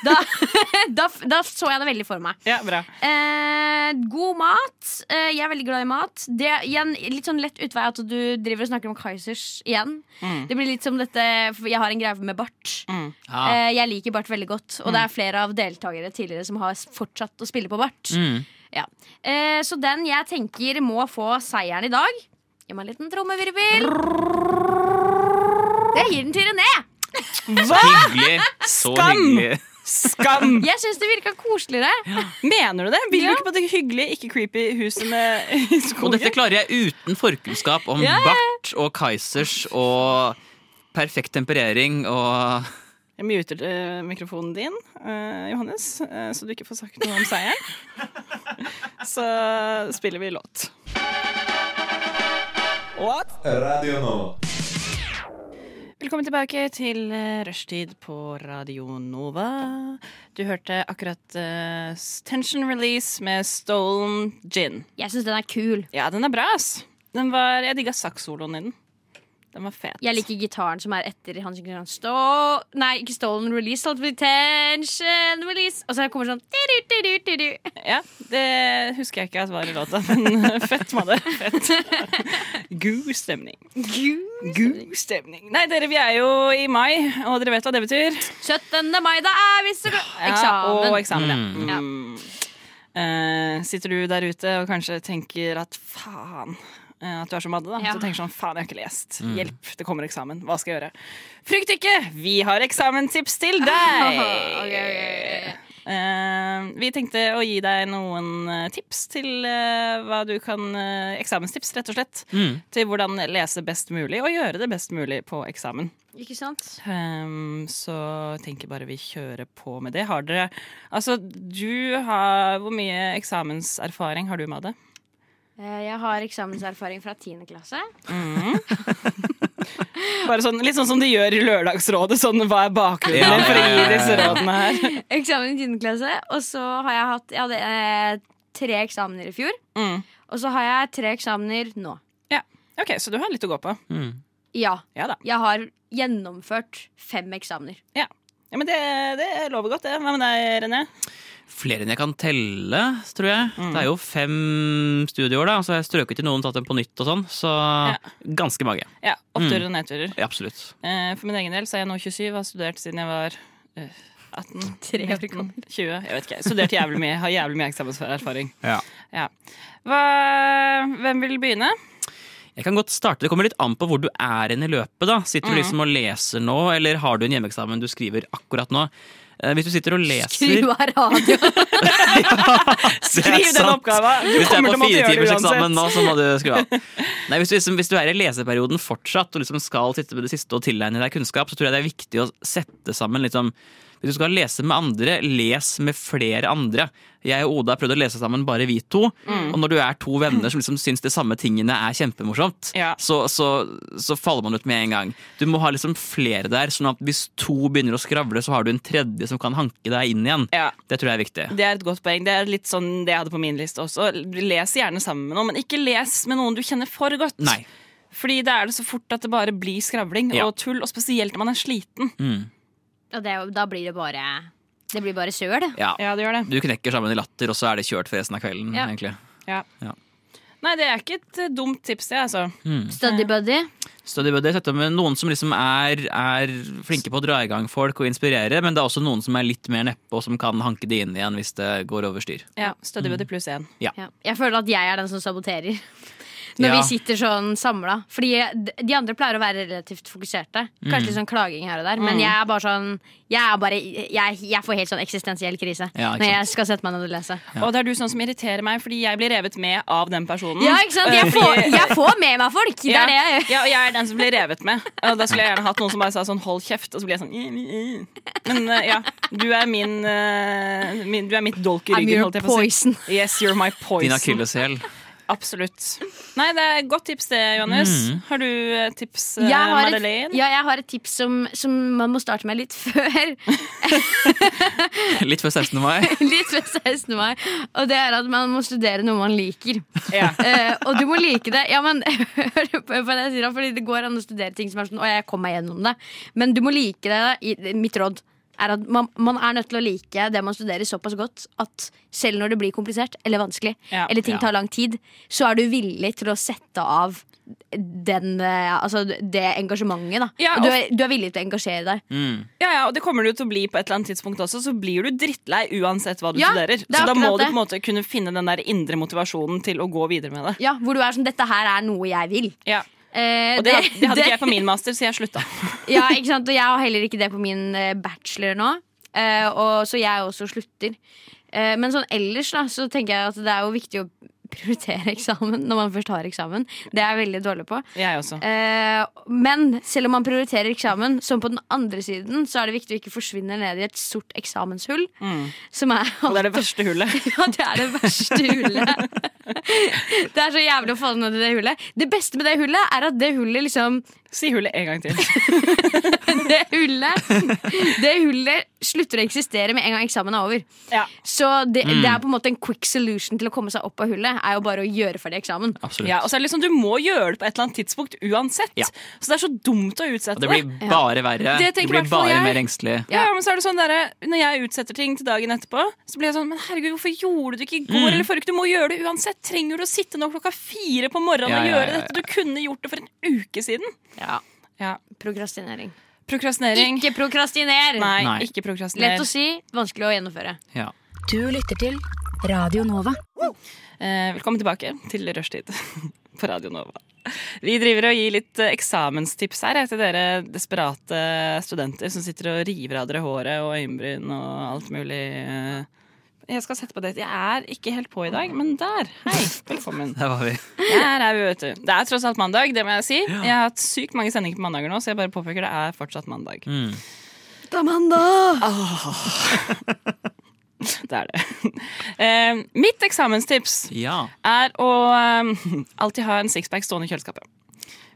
Speaker 4: Da, <laughs> da, f- da så jeg det veldig for meg.
Speaker 3: Ja, bra.
Speaker 4: Eh, god mat. Eh, jeg er veldig glad i mat. Det er igjen Litt sånn lett utvei at du driver og snakker om Kaizers igjen. Det blir litt som dette for Jeg har en greie med bart.
Speaker 5: Mm. Ja. Mm.
Speaker 4: Eh, jeg liker bart veldig godt, og det er flere av deltakere tidligere som har s- fortsatt å spille på bart.
Speaker 5: Mm.
Speaker 4: Ja. Eh, så den jeg tenker må få seieren i dag Gi meg en liten trommevirvel. Jeg gir den til René.
Speaker 5: Hyggelig. Så
Speaker 3: Skam!
Speaker 5: hyggelig.
Speaker 4: <laughs>
Speaker 3: Skam!
Speaker 4: Jeg syns det virka koseligere.
Speaker 3: Mener du det? Vil du
Speaker 4: Ja.
Speaker 3: ikke på det hyggelige, ikke creepy huset med <laughs> i
Speaker 5: Og
Speaker 3: skogen?
Speaker 5: dette klarer jeg uten forkunnskap om
Speaker 4: Ja, ja, ja.
Speaker 5: bart og Kaizers og perfekt temperering og
Speaker 3: Jeg muter eh, mikrofonen din, eh, Johannes, eh, så du ikke får sagt noe om seieren. Så spiller vi låt. What?
Speaker 1: Radio Nova.
Speaker 3: Velkommen tilbake til eh, Rushtid på Radio Nova. Du hørte akkurat eh, Tension Release med Stolen Gin.
Speaker 4: Jeg syns den er kul.
Speaker 3: Ja, den er bra, ass. Den var, jeg digga saksoloen i den. Den var fet.
Speaker 4: Jeg liker gitaren som er etter i hans Christian Stå... Nei, ikke Stolen Release. Salt Retention Release. Og så kommer det sånn du-du-du-du-du.
Speaker 3: Ja, det husker jeg ikke at var i låta, men <laughs> fett var det. Fett. God stemning.
Speaker 4: Gud.
Speaker 3: God stemning. Nei, dere, vi er jo i mai, og dere vet hva det betyr.
Speaker 4: 17. mai, da er vi så glad
Speaker 3: Ja,
Speaker 4: Eksamen.
Speaker 3: Og eksamen, ja.
Speaker 4: Ja.
Speaker 3: Mm. Eh, sitter du der ute og kanskje tenker at faen eh, At du er som Madde, da.
Speaker 4: Ja.
Speaker 3: Så tenker du sånn faen, jeg har ikke lest. Hjelp, det kommer eksamen. Hva skal jeg gjøre? Frykt ikke! Vi har eksamenstips
Speaker 4: <laughs>
Speaker 3: til deg!
Speaker 4: Ok, ok,
Speaker 3: Eh, vi tenkte å gi deg noen eh, tips til eh, hva du kan eh, Eksamenstips, rett og slett.
Speaker 5: Mm.
Speaker 3: Til hvordan lese best mulig, og gjøre det best mulig på eksamen.
Speaker 4: Ikke sant?
Speaker 3: Ehm, så tenker jeg bare vi kjører på med det. Har dere Altså, du har Hvor mye eksamenserfaring har du med det?
Speaker 4: Eh, Jeg har eksamenserfaring fra 10. klasse.
Speaker 3: Bare sånn, litt sånn som de gjør i Lørdagsrådet. Sånn hva er bakgrunnen
Speaker 5: Ja,
Speaker 3: din for å
Speaker 5: ja,
Speaker 3: gi
Speaker 5: ja, ja.
Speaker 3: disse rådene her?
Speaker 4: <laughs> Eksamen i 10. klasse. Og så har jeg hatt Jeg hadde eh, tre eksamener i fjor.
Speaker 3: Mm.
Speaker 4: Og så har jeg tre eksamener nå.
Speaker 3: OK, så du har litt å gå på.
Speaker 5: Mm.
Speaker 4: Ja.
Speaker 3: Ja da.
Speaker 4: Jeg har gjennomført fem eksamener.
Speaker 3: Ja, men det, det lover godt, det. Hva med deg, René?
Speaker 5: Flere enn jeg kan telle, tror jeg.
Speaker 4: Mm.
Speaker 5: Det er jo fem studieår, da. Så jeg strøket til noen, tatt dem på nytt og sånn. Så ganske mange.
Speaker 3: Ja, Oppturer
Speaker 5: Mm.
Speaker 3: og nedturer.
Speaker 5: Ja, absolutt.
Speaker 3: Eh, for min egen del så er jeg nå 27, har studert siden jeg var eh, 18,
Speaker 4: Tre år
Speaker 3: 19, 20. Jeg vet ikke. jeg Studert jævlig mye. Har jævlig mye eksamenserfaring.
Speaker 5: Ja.
Speaker 3: Ja. Hva, hvem vil
Speaker 5: <laughs>
Speaker 3: begynne?
Speaker 5: Jeg kan godt starte. Det kommer litt an på hvor du er hen i løpet. da. Sitter du
Speaker 3: Mm.
Speaker 5: liksom og leser nå, eller har du en hjemmeeksamen du skriver akkurat nå? Eh, Hvis du sitter og leser
Speaker 4: Skru
Speaker 5: <laughs>
Speaker 4: av radioen!
Speaker 3: Skriv den oppgaven! Du
Speaker 5: Hvis du er
Speaker 3: kommer til
Speaker 5: på
Speaker 3: å måtte
Speaker 5: fire
Speaker 3: gjøre
Speaker 5: timers
Speaker 3: det
Speaker 5: eksamen nå,
Speaker 3: uansett.
Speaker 5: så må du skru av.
Speaker 3: <laughs>
Speaker 5: Nei, hvis, du liksom, hvis du er i leseperioden fortsatt og liksom skal sitte med det siste og tilegne deg kunnskap, så tror jeg det er viktig å sette sammen liksom, Hvis du skal lese med andre, les med flere andre. Jeg og Oda har prøvd å lese sammen bare vi to.
Speaker 3: Mm.
Speaker 5: Og når du er to venner som liksom syns de samme tingene er kjempemorsomt,
Speaker 3: Ja.
Speaker 5: så, så, så faller man ut med en gang. Du må ha liksom flere der, sånn at hvis to begynner å skravle, så har du en tredje som kan hanke deg inn igjen.
Speaker 3: Ja,
Speaker 5: Det tror jeg er viktig.
Speaker 3: det er et godt poeng. Det er litt sånn det jeg hadde på min liste også. Les gjerne sammen med noen, men ikke les med noen du kjenner for godt.
Speaker 5: Nei.
Speaker 3: Fordi da er det så fort at det bare blir skravling
Speaker 5: Ja.
Speaker 3: og tull, og spesielt når man er sliten.
Speaker 4: <laughs> Og det, er jo- da blir det bare Det blir bare søl.
Speaker 5: Ja.
Speaker 3: Ja, det gjør det.
Speaker 5: Du knekker sammen i latter, og så er det kjørt for resten av kvelden.
Speaker 4: Ja.
Speaker 5: egentlig.
Speaker 3: Nei, det er ikke et eh, dumt tips, det, altså.
Speaker 4: Study buddy.
Speaker 5: Study buddy setter med noen som liksom er, er flinke på å dra i gang folk og inspirere, men det er også noen som er litt mer neppe og som kan hanke det inn igjen hvis det går over styr.
Speaker 3: Ja, Study buddy pluss én.
Speaker 4: Ja. Jeg føler at jeg er den som saboterer. <laughs> Når
Speaker 5: Ja.
Speaker 4: vi sitter sånn samla. Fordi d- de andre pleier å være relativt fokuserte.
Speaker 3: Mm.
Speaker 4: Kanskje litt sånn klaging her og der. Men jeg er bare sånn Jeg, er bare, jeg, jeg får helt sånn eksistensiell krise
Speaker 5: Ja, ikke
Speaker 4: når jeg skal sette meg ned og lese.
Speaker 3: Og det er du sånn som irriterer meg, fordi jeg blir revet med av den personen.
Speaker 4: Ja, ikke sant?
Speaker 3: <laughs>
Speaker 4: Jeg får, jeg får med meg folk! Det
Speaker 3: Ja.
Speaker 4: er det jeg gjør.
Speaker 3: Ja, og jeg er den som blir revet med. Og da skulle jeg gjerne hatt noen som bare sa sånn 'hold kjeft', og så blir jeg sånn "Eh, eh, eh." Men eh, ja, du er min, eh, min Du er mitt dolk i
Speaker 4: I'm
Speaker 3: ryggen,
Speaker 4: your
Speaker 3: holdt jeg på å si.
Speaker 4: poison.
Speaker 3: Yes, you're my
Speaker 5: Din
Speaker 3: poison.
Speaker 5: akilleshæl.
Speaker 3: Absolutt. Nei, det er et godt tips det, Johannes. Har du eh, tips, eh,
Speaker 4: Jeg har, et,
Speaker 3: Madeleine?
Speaker 4: ja, jeg har et tips som, som man må starte med litt <laughs> før.
Speaker 5: Litt før 16. mai.
Speaker 4: Litt ved 16. mai. Og det er at man må studere noe man liker.
Speaker 3: Ja.
Speaker 4: Eh, og du må like det. Ja, men <laughs> hør på hva jeg sier, da, fordi det går an å studere ting som er sånn Å, jeg kom meg gjennom det. Men du må like det. I, mitt råd er at man, man er nødt til å like det man studerer såpass godt at selv når det blir komplisert eller vanskelig,
Speaker 3: Ja.
Speaker 4: eller ting
Speaker 5: Ja.
Speaker 4: tar lang tid, så er du villig til å sette av den, eh, altså det engasjementet, da.
Speaker 3: Ja,
Speaker 4: og du,
Speaker 3: og-
Speaker 4: er, du er villig til å engasjere deg.
Speaker 5: Mm.
Speaker 3: Ja, ja, og det kommer du til å bli på et eller annet tidspunkt også. Så blir du drittlei uansett hva du
Speaker 4: Ja,
Speaker 3: studerer.
Speaker 4: det er
Speaker 3: Så da må du
Speaker 4: akkurat det.
Speaker 3: på en måte kunne finne den der indre motivasjonen til å gå videre med det.
Speaker 4: Ja, Hvor du er sånn Dette her er noe jeg vil.
Speaker 3: Ja.
Speaker 4: Eh,
Speaker 3: Og det, had- det hadde ikke jeg på min master, så jeg slutta.
Speaker 4: Ja, ikke sant? Og jeg har heller ikke det på min eh, bachelor nå, eh, og, så jeg også slutter. Eh, Men sånn ellers da, så tenker jeg at det er jo viktig å prioritere <laughs> eksamen når man først har eksamen. Det er jeg veldig dårlig på.
Speaker 3: Jeg også.
Speaker 4: Eh, Men selv om man prioriterer eksamen, som på den andre siden, så er det viktig å ikke forsvinne ned i et sort eksamenshull. Som er
Speaker 3: Mm. Og det er det verste hullet.
Speaker 4: <laughs> ja, det er det
Speaker 3: <laughs>
Speaker 4: verste hullet. Det er så jævlig å falle ned i det hullet. Det beste med det hullet er at det hullet liksom
Speaker 3: Si hullet en gang til.
Speaker 4: <laughs> Det hullet hullet Det hullet slutter å eksistere med en gang eksamen er over.
Speaker 3: Ja.
Speaker 4: Så det, det
Speaker 5: Mm.
Speaker 4: er på en måte en quick solution til å komme seg opp av hullet. Er jo bare å gjøre ferdig eksamen.
Speaker 5: Absolutt.
Speaker 3: Ja, og så er det liksom, Du må gjøre det på et eller annet tidspunkt uansett.
Speaker 5: Ja.
Speaker 3: Så det er så dumt å utsette
Speaker 5: Og det blir bare verre.
Speaker 3: Det
Speaker 5: Det,
Speaker 3: tenker
Speaker 5: blir
Speaker 3: hvertfall
Speaker 5: bare
Speaker 3: jeg.
Speaker 5: mer engstelig.
Speaker 3: Ja, men så er det sånn der, Når jeg utsetter ting til dagen etterpå, så blir jeg sånn Men herregud, hvorfor gjorde du ikke i går
Speaker 5: Mm.
Speaker 3: eller forrige uke? Du må gjøre det uansett. Trenger du å sitte nå klokka fire på morgenen
Speaker 5: Ja,
Speaker 3: og
Speaker 5: ja,
Speaker 3: gjøre
Speaker 5: ja, ja.
Speaker 3: dette? Du kunne gjort det for en uke siden.
Speaker 5: Ja.
Speaker 3: Ja.
Speaker 4: Prokrastinering.
Speaker 3: Prokrastinering.
Speaker 4: Ikke prokrastiner!
Speaker 3: Nei,
Speaker 5: Nei.
Speaker 3: ikke prokrastiner.
Speaker 4: Lett å si, vanskelig å
Speaker 3: <laughs>
Speaker 4: gjennomføre.
Speaker 5: Ja.
Speaker 10: Du lytter til Radio Nova.
Speaker 3: Eh, velkommen tilbake til Rushtid <laughs> på Radio Nova. Vi driver og gir litt eh, eksamenstips her eh, til dere desperate studenter som sitter og river av dere håret og øyenbryn og alt mulig. eh. Jeg skal sette på det. Jeg er ikke helt på i dag, men der. Hei, velkommen.
Speaker 5: Der var vi.
Speaker 3: Der er vi, vet du. Det er tross alt mandag, det må jeg si. Jeg har hatt sykt mange sendinger på mandager nå, så jeg bare påpeker det er fortsatt mandag. Ah. <laughs> Det er det. <laughs> Eh, mitt eksamenstips
Speaker 5: Ja.
Speaker 3: er å um, <laughs> alltid ha en sixpack stående i kjøleskapet.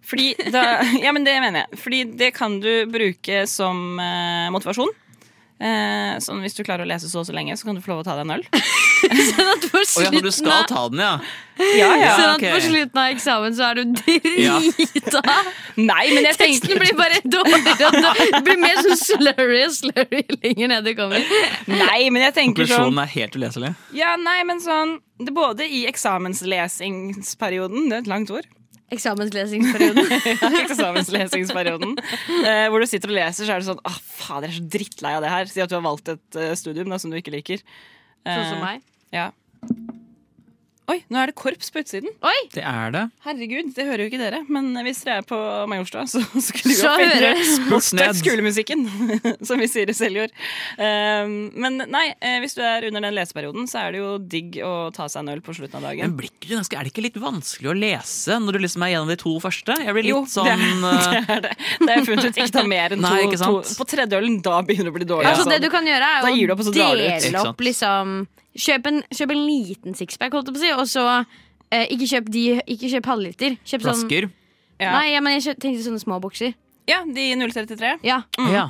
Speaker 3: Fordi da, <laughs> ja, men det mener jeg. Fordi det kan du bruke som eh, motivasjon. Eh, sånn Hvis du klarer å lese så og så lenge, så kan du få lov å ta deg en øl.
Speaker 4: Sånn at på
Speaker 5: Å ja, når du
Speaker 4: slutten
Speaker 5: skal
Speaker 4: av-
Speaker 5: ta den, ja.
Speaker 3: Ja, ja.
Speaker 4: sånn at
Speaker 5: ok.
Speaker 4: på slutten av eksamen så er du drita.
Speaker 3: <laughs> Nei, men jeg
Speaker 4: Teksten
Speaker 3: tenkte
Speaker 4: blir bare dårligere og dårligere. Det Blir mer sånn slurry og slurry lenger ned du
Speaker 3: <laughs>
Speaker 4: kommer.
Speaker 3: Nei, men jeg tenker sånn
Speaker 5: Konklusjonen er helt uleselig.
Speaker 3: Ja, nei, men sånn det er Både i eksamenslesingsperioden Det er et langt ord. <laughs>
Speaker 4: Eksamenslesingsperioden.
Speaker 3: Ja, Eksamenslesersperioden. Eh, hvor du sitter og leser, så er det sånn Åh, fader, jeg er så drittlei av det her. Si at du har valgt et eh, studium da, som du ikke liker.
Speaker 4: Sånn som meg.
Speaker 3: Ja. Oi, nå er det korps på utsiden.
Speaker 4: Oi!
Speaker 5: Det er det.
Speaker 3: Herregud, det hører jo ikke dere. Men hvis dere er på Majorstua, så <laughs> skulle vi
Speaker 4: Så
Speaker 3: opp <laughs>
Speaker 4: hører
Speaker 5: ned.
Speaker 3: Støtt skolemusikken, <laughs> som vi sier i Seljord. Um, men nei, eh, hvis du er under den leseperioden, så er det jo digg å ta seg en øl på slutten av
Speaker 5: Men
Speaker 3: dagen.
Speaker 5: blir ikke det ganske, er det ikke litt vanskelig å lese når du liksom er gjennom de to første? Jeg blir litt
Speaker 3: Jo,
Speaker 5: sånn eh,
Speaker 3: <laughs> Det er det. Det har jeg funnet ut. Ikke ta <laughs> mer enn to.
Speaker 5: Nei, ikke sant?
Speaker 3: to. På tredje ølen, da begynner det å bli dårlig.
Speaker 4: Altså
Speaker 3: altså.
Speaker 4: Det du kan gjøre,
Speaker 3: Da
Speaker 4: er
Speaker 3: gir du
Speaker 4: jo
Speaker 3: opp, og
Speaker 4: å
Speaker 3: så drar du ut.
Speaker 5: Ikke
Speaker 4: dele
Speaker 5: sant?
Speaker 4: opp, liksom. Kjøp en, kjøp en liten sixpack, holdt jeg på å si, og så eh, ikke kjøp de Ikke kjøp halvliter. Kjøp sånn
Speaker 5: flasker.
Speaker 3: Ja.
Speaker 4: Nei, ja, men jeg kjø- tenkte sånne små bokser.
Speaker 3: Ja, de 033.
Speaker 4: Ja.
Speaker 5: Ja.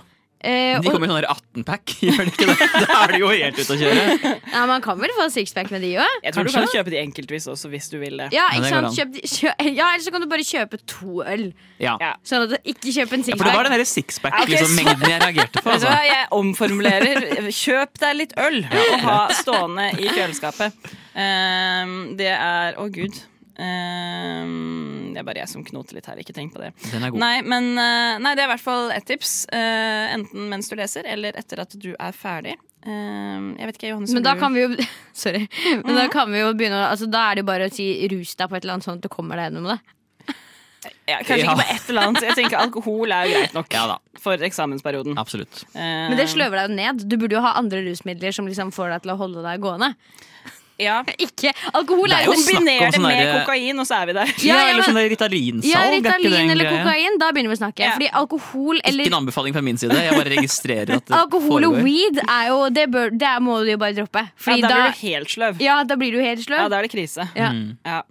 Speaker 4: Eh,
Speaker 5: De
Speaker 4: og,
Speaker 5: kommer i sånn der 18-pack, <laughs> gjør de ikke det? Da er de jo helt ute å kjøre.
Speaker 4: ja, man kan vel få sixpack med de òg?
Speaker 3: Jeg tror
Speaker 5: Kanskje.
Speaker 3: du kan kjøpe de enkeltvis også, hvis du vil det.
Speaker 4: Ja,
Speaker 5: Ja,
Speaker 4: ikke
Speaker 5: det går
Speaker 4: sant?
Speaker 5: an.
Speaker 4: Kjøp, de- kjø, <laughs> ja, eller så kan du bare kjøpe to øl.
Speaker 5: Ja.
Speaker 3: Ja.
Speaker 4: Sånn at Ikke kjøp en
Speaker 5: For det var
Speaker 4: sixpack.
Speaker 3: Ok,
Speaker 5: den derre
Speaker 3: så-
Speaker 5: sixpack-mengden jeg reagerte på.
Speaker 3: Vet du hva,
Speaker 5: Altså.
Speaker 3: jeg omformulerer. Kjøp deg litt øl og ha stående i kjøleskapet. Ehm, det er Å, gud. Ehm, det er bare jeg som knoter litt her. Ikke tenk på det.
Speaker 5: Den er god.
Speaker 3: Nei, men, eh, nei, det er i hvert fall ett tips. Eh, enten mens du leser, eller etter at du er ferdig. Ehm, jeg vet ikke, Johannes.
Speaker 4: Men da
Speaker 3: du-
Speaker 4: kan vi jo <laughs> Sorry. Men da kan vi jo begynne å altså, Da er det jo bare å si rus deg på et eller annet sånn at du kommer deg gjennom det.
Speaker 3: ja, Kanskje
Speaker 5: Ja.
Speaker 3: ikke på et eller annet. Jeg tenker Alkohol er jo greit nok
Speaker 5: Ja da,
Speaker 3: for eksamensperioden. Ehm,
Speaker 5: absolutt.
Speaker 4: Men
Speaker 3: Mm.
Speaker 4: det sløver deg jo ned. Du burde jo ha andre rusmidler som liksom får deg til å holde deg gående.
Speaker 3: Ja.
Speaker 4: Ikke alkohol er
Speaker 5: Det er
Speaker 4: jo
Speaker 5: jo snakk om
Speaker 3: Kombiner det
Speaker 5: sånn
Speaker 3: med
Speaker 5: derre-
Speaker 3: kokain, og så er vi der.
Speaker 5: Ja,
Speaker 4: ja, men-
Speaker 5: eller sånn der Ritalinsalg.
Speaker 4: ja,
Speaker 5: er ikke det en
Speaker 4: Ritalin eller
Speaker 5: greie?
Speaker 4: kokain, da begynner vi å snakke.
Speaker 3: Ja.
Speaker 4: Fordi alkohol
Speaker 5: Ikke en
Speaker 4: eller
Speaker 5: anbefaling fra min side. Jeg bare registrerer at det
Speaker 4: Alkohol og
Speaker 5: foregår.
Speaker 4: weed er jo Det, bør, det må du jo bare droppe.
Speaker 3: Ja,
Speaker 4: Fordi
Speaker 3: da blir
Speaker 4: da,
Speaker 3: du helt sløv.
Speaker 4: ja, da blir du helt
Speaker 3: Ja,
Speaker 4: sløv.
Speaker 3: da er det krise.
Speaker 4: Ja.
Speaker 5: Mm.
Speaker 3: Ja.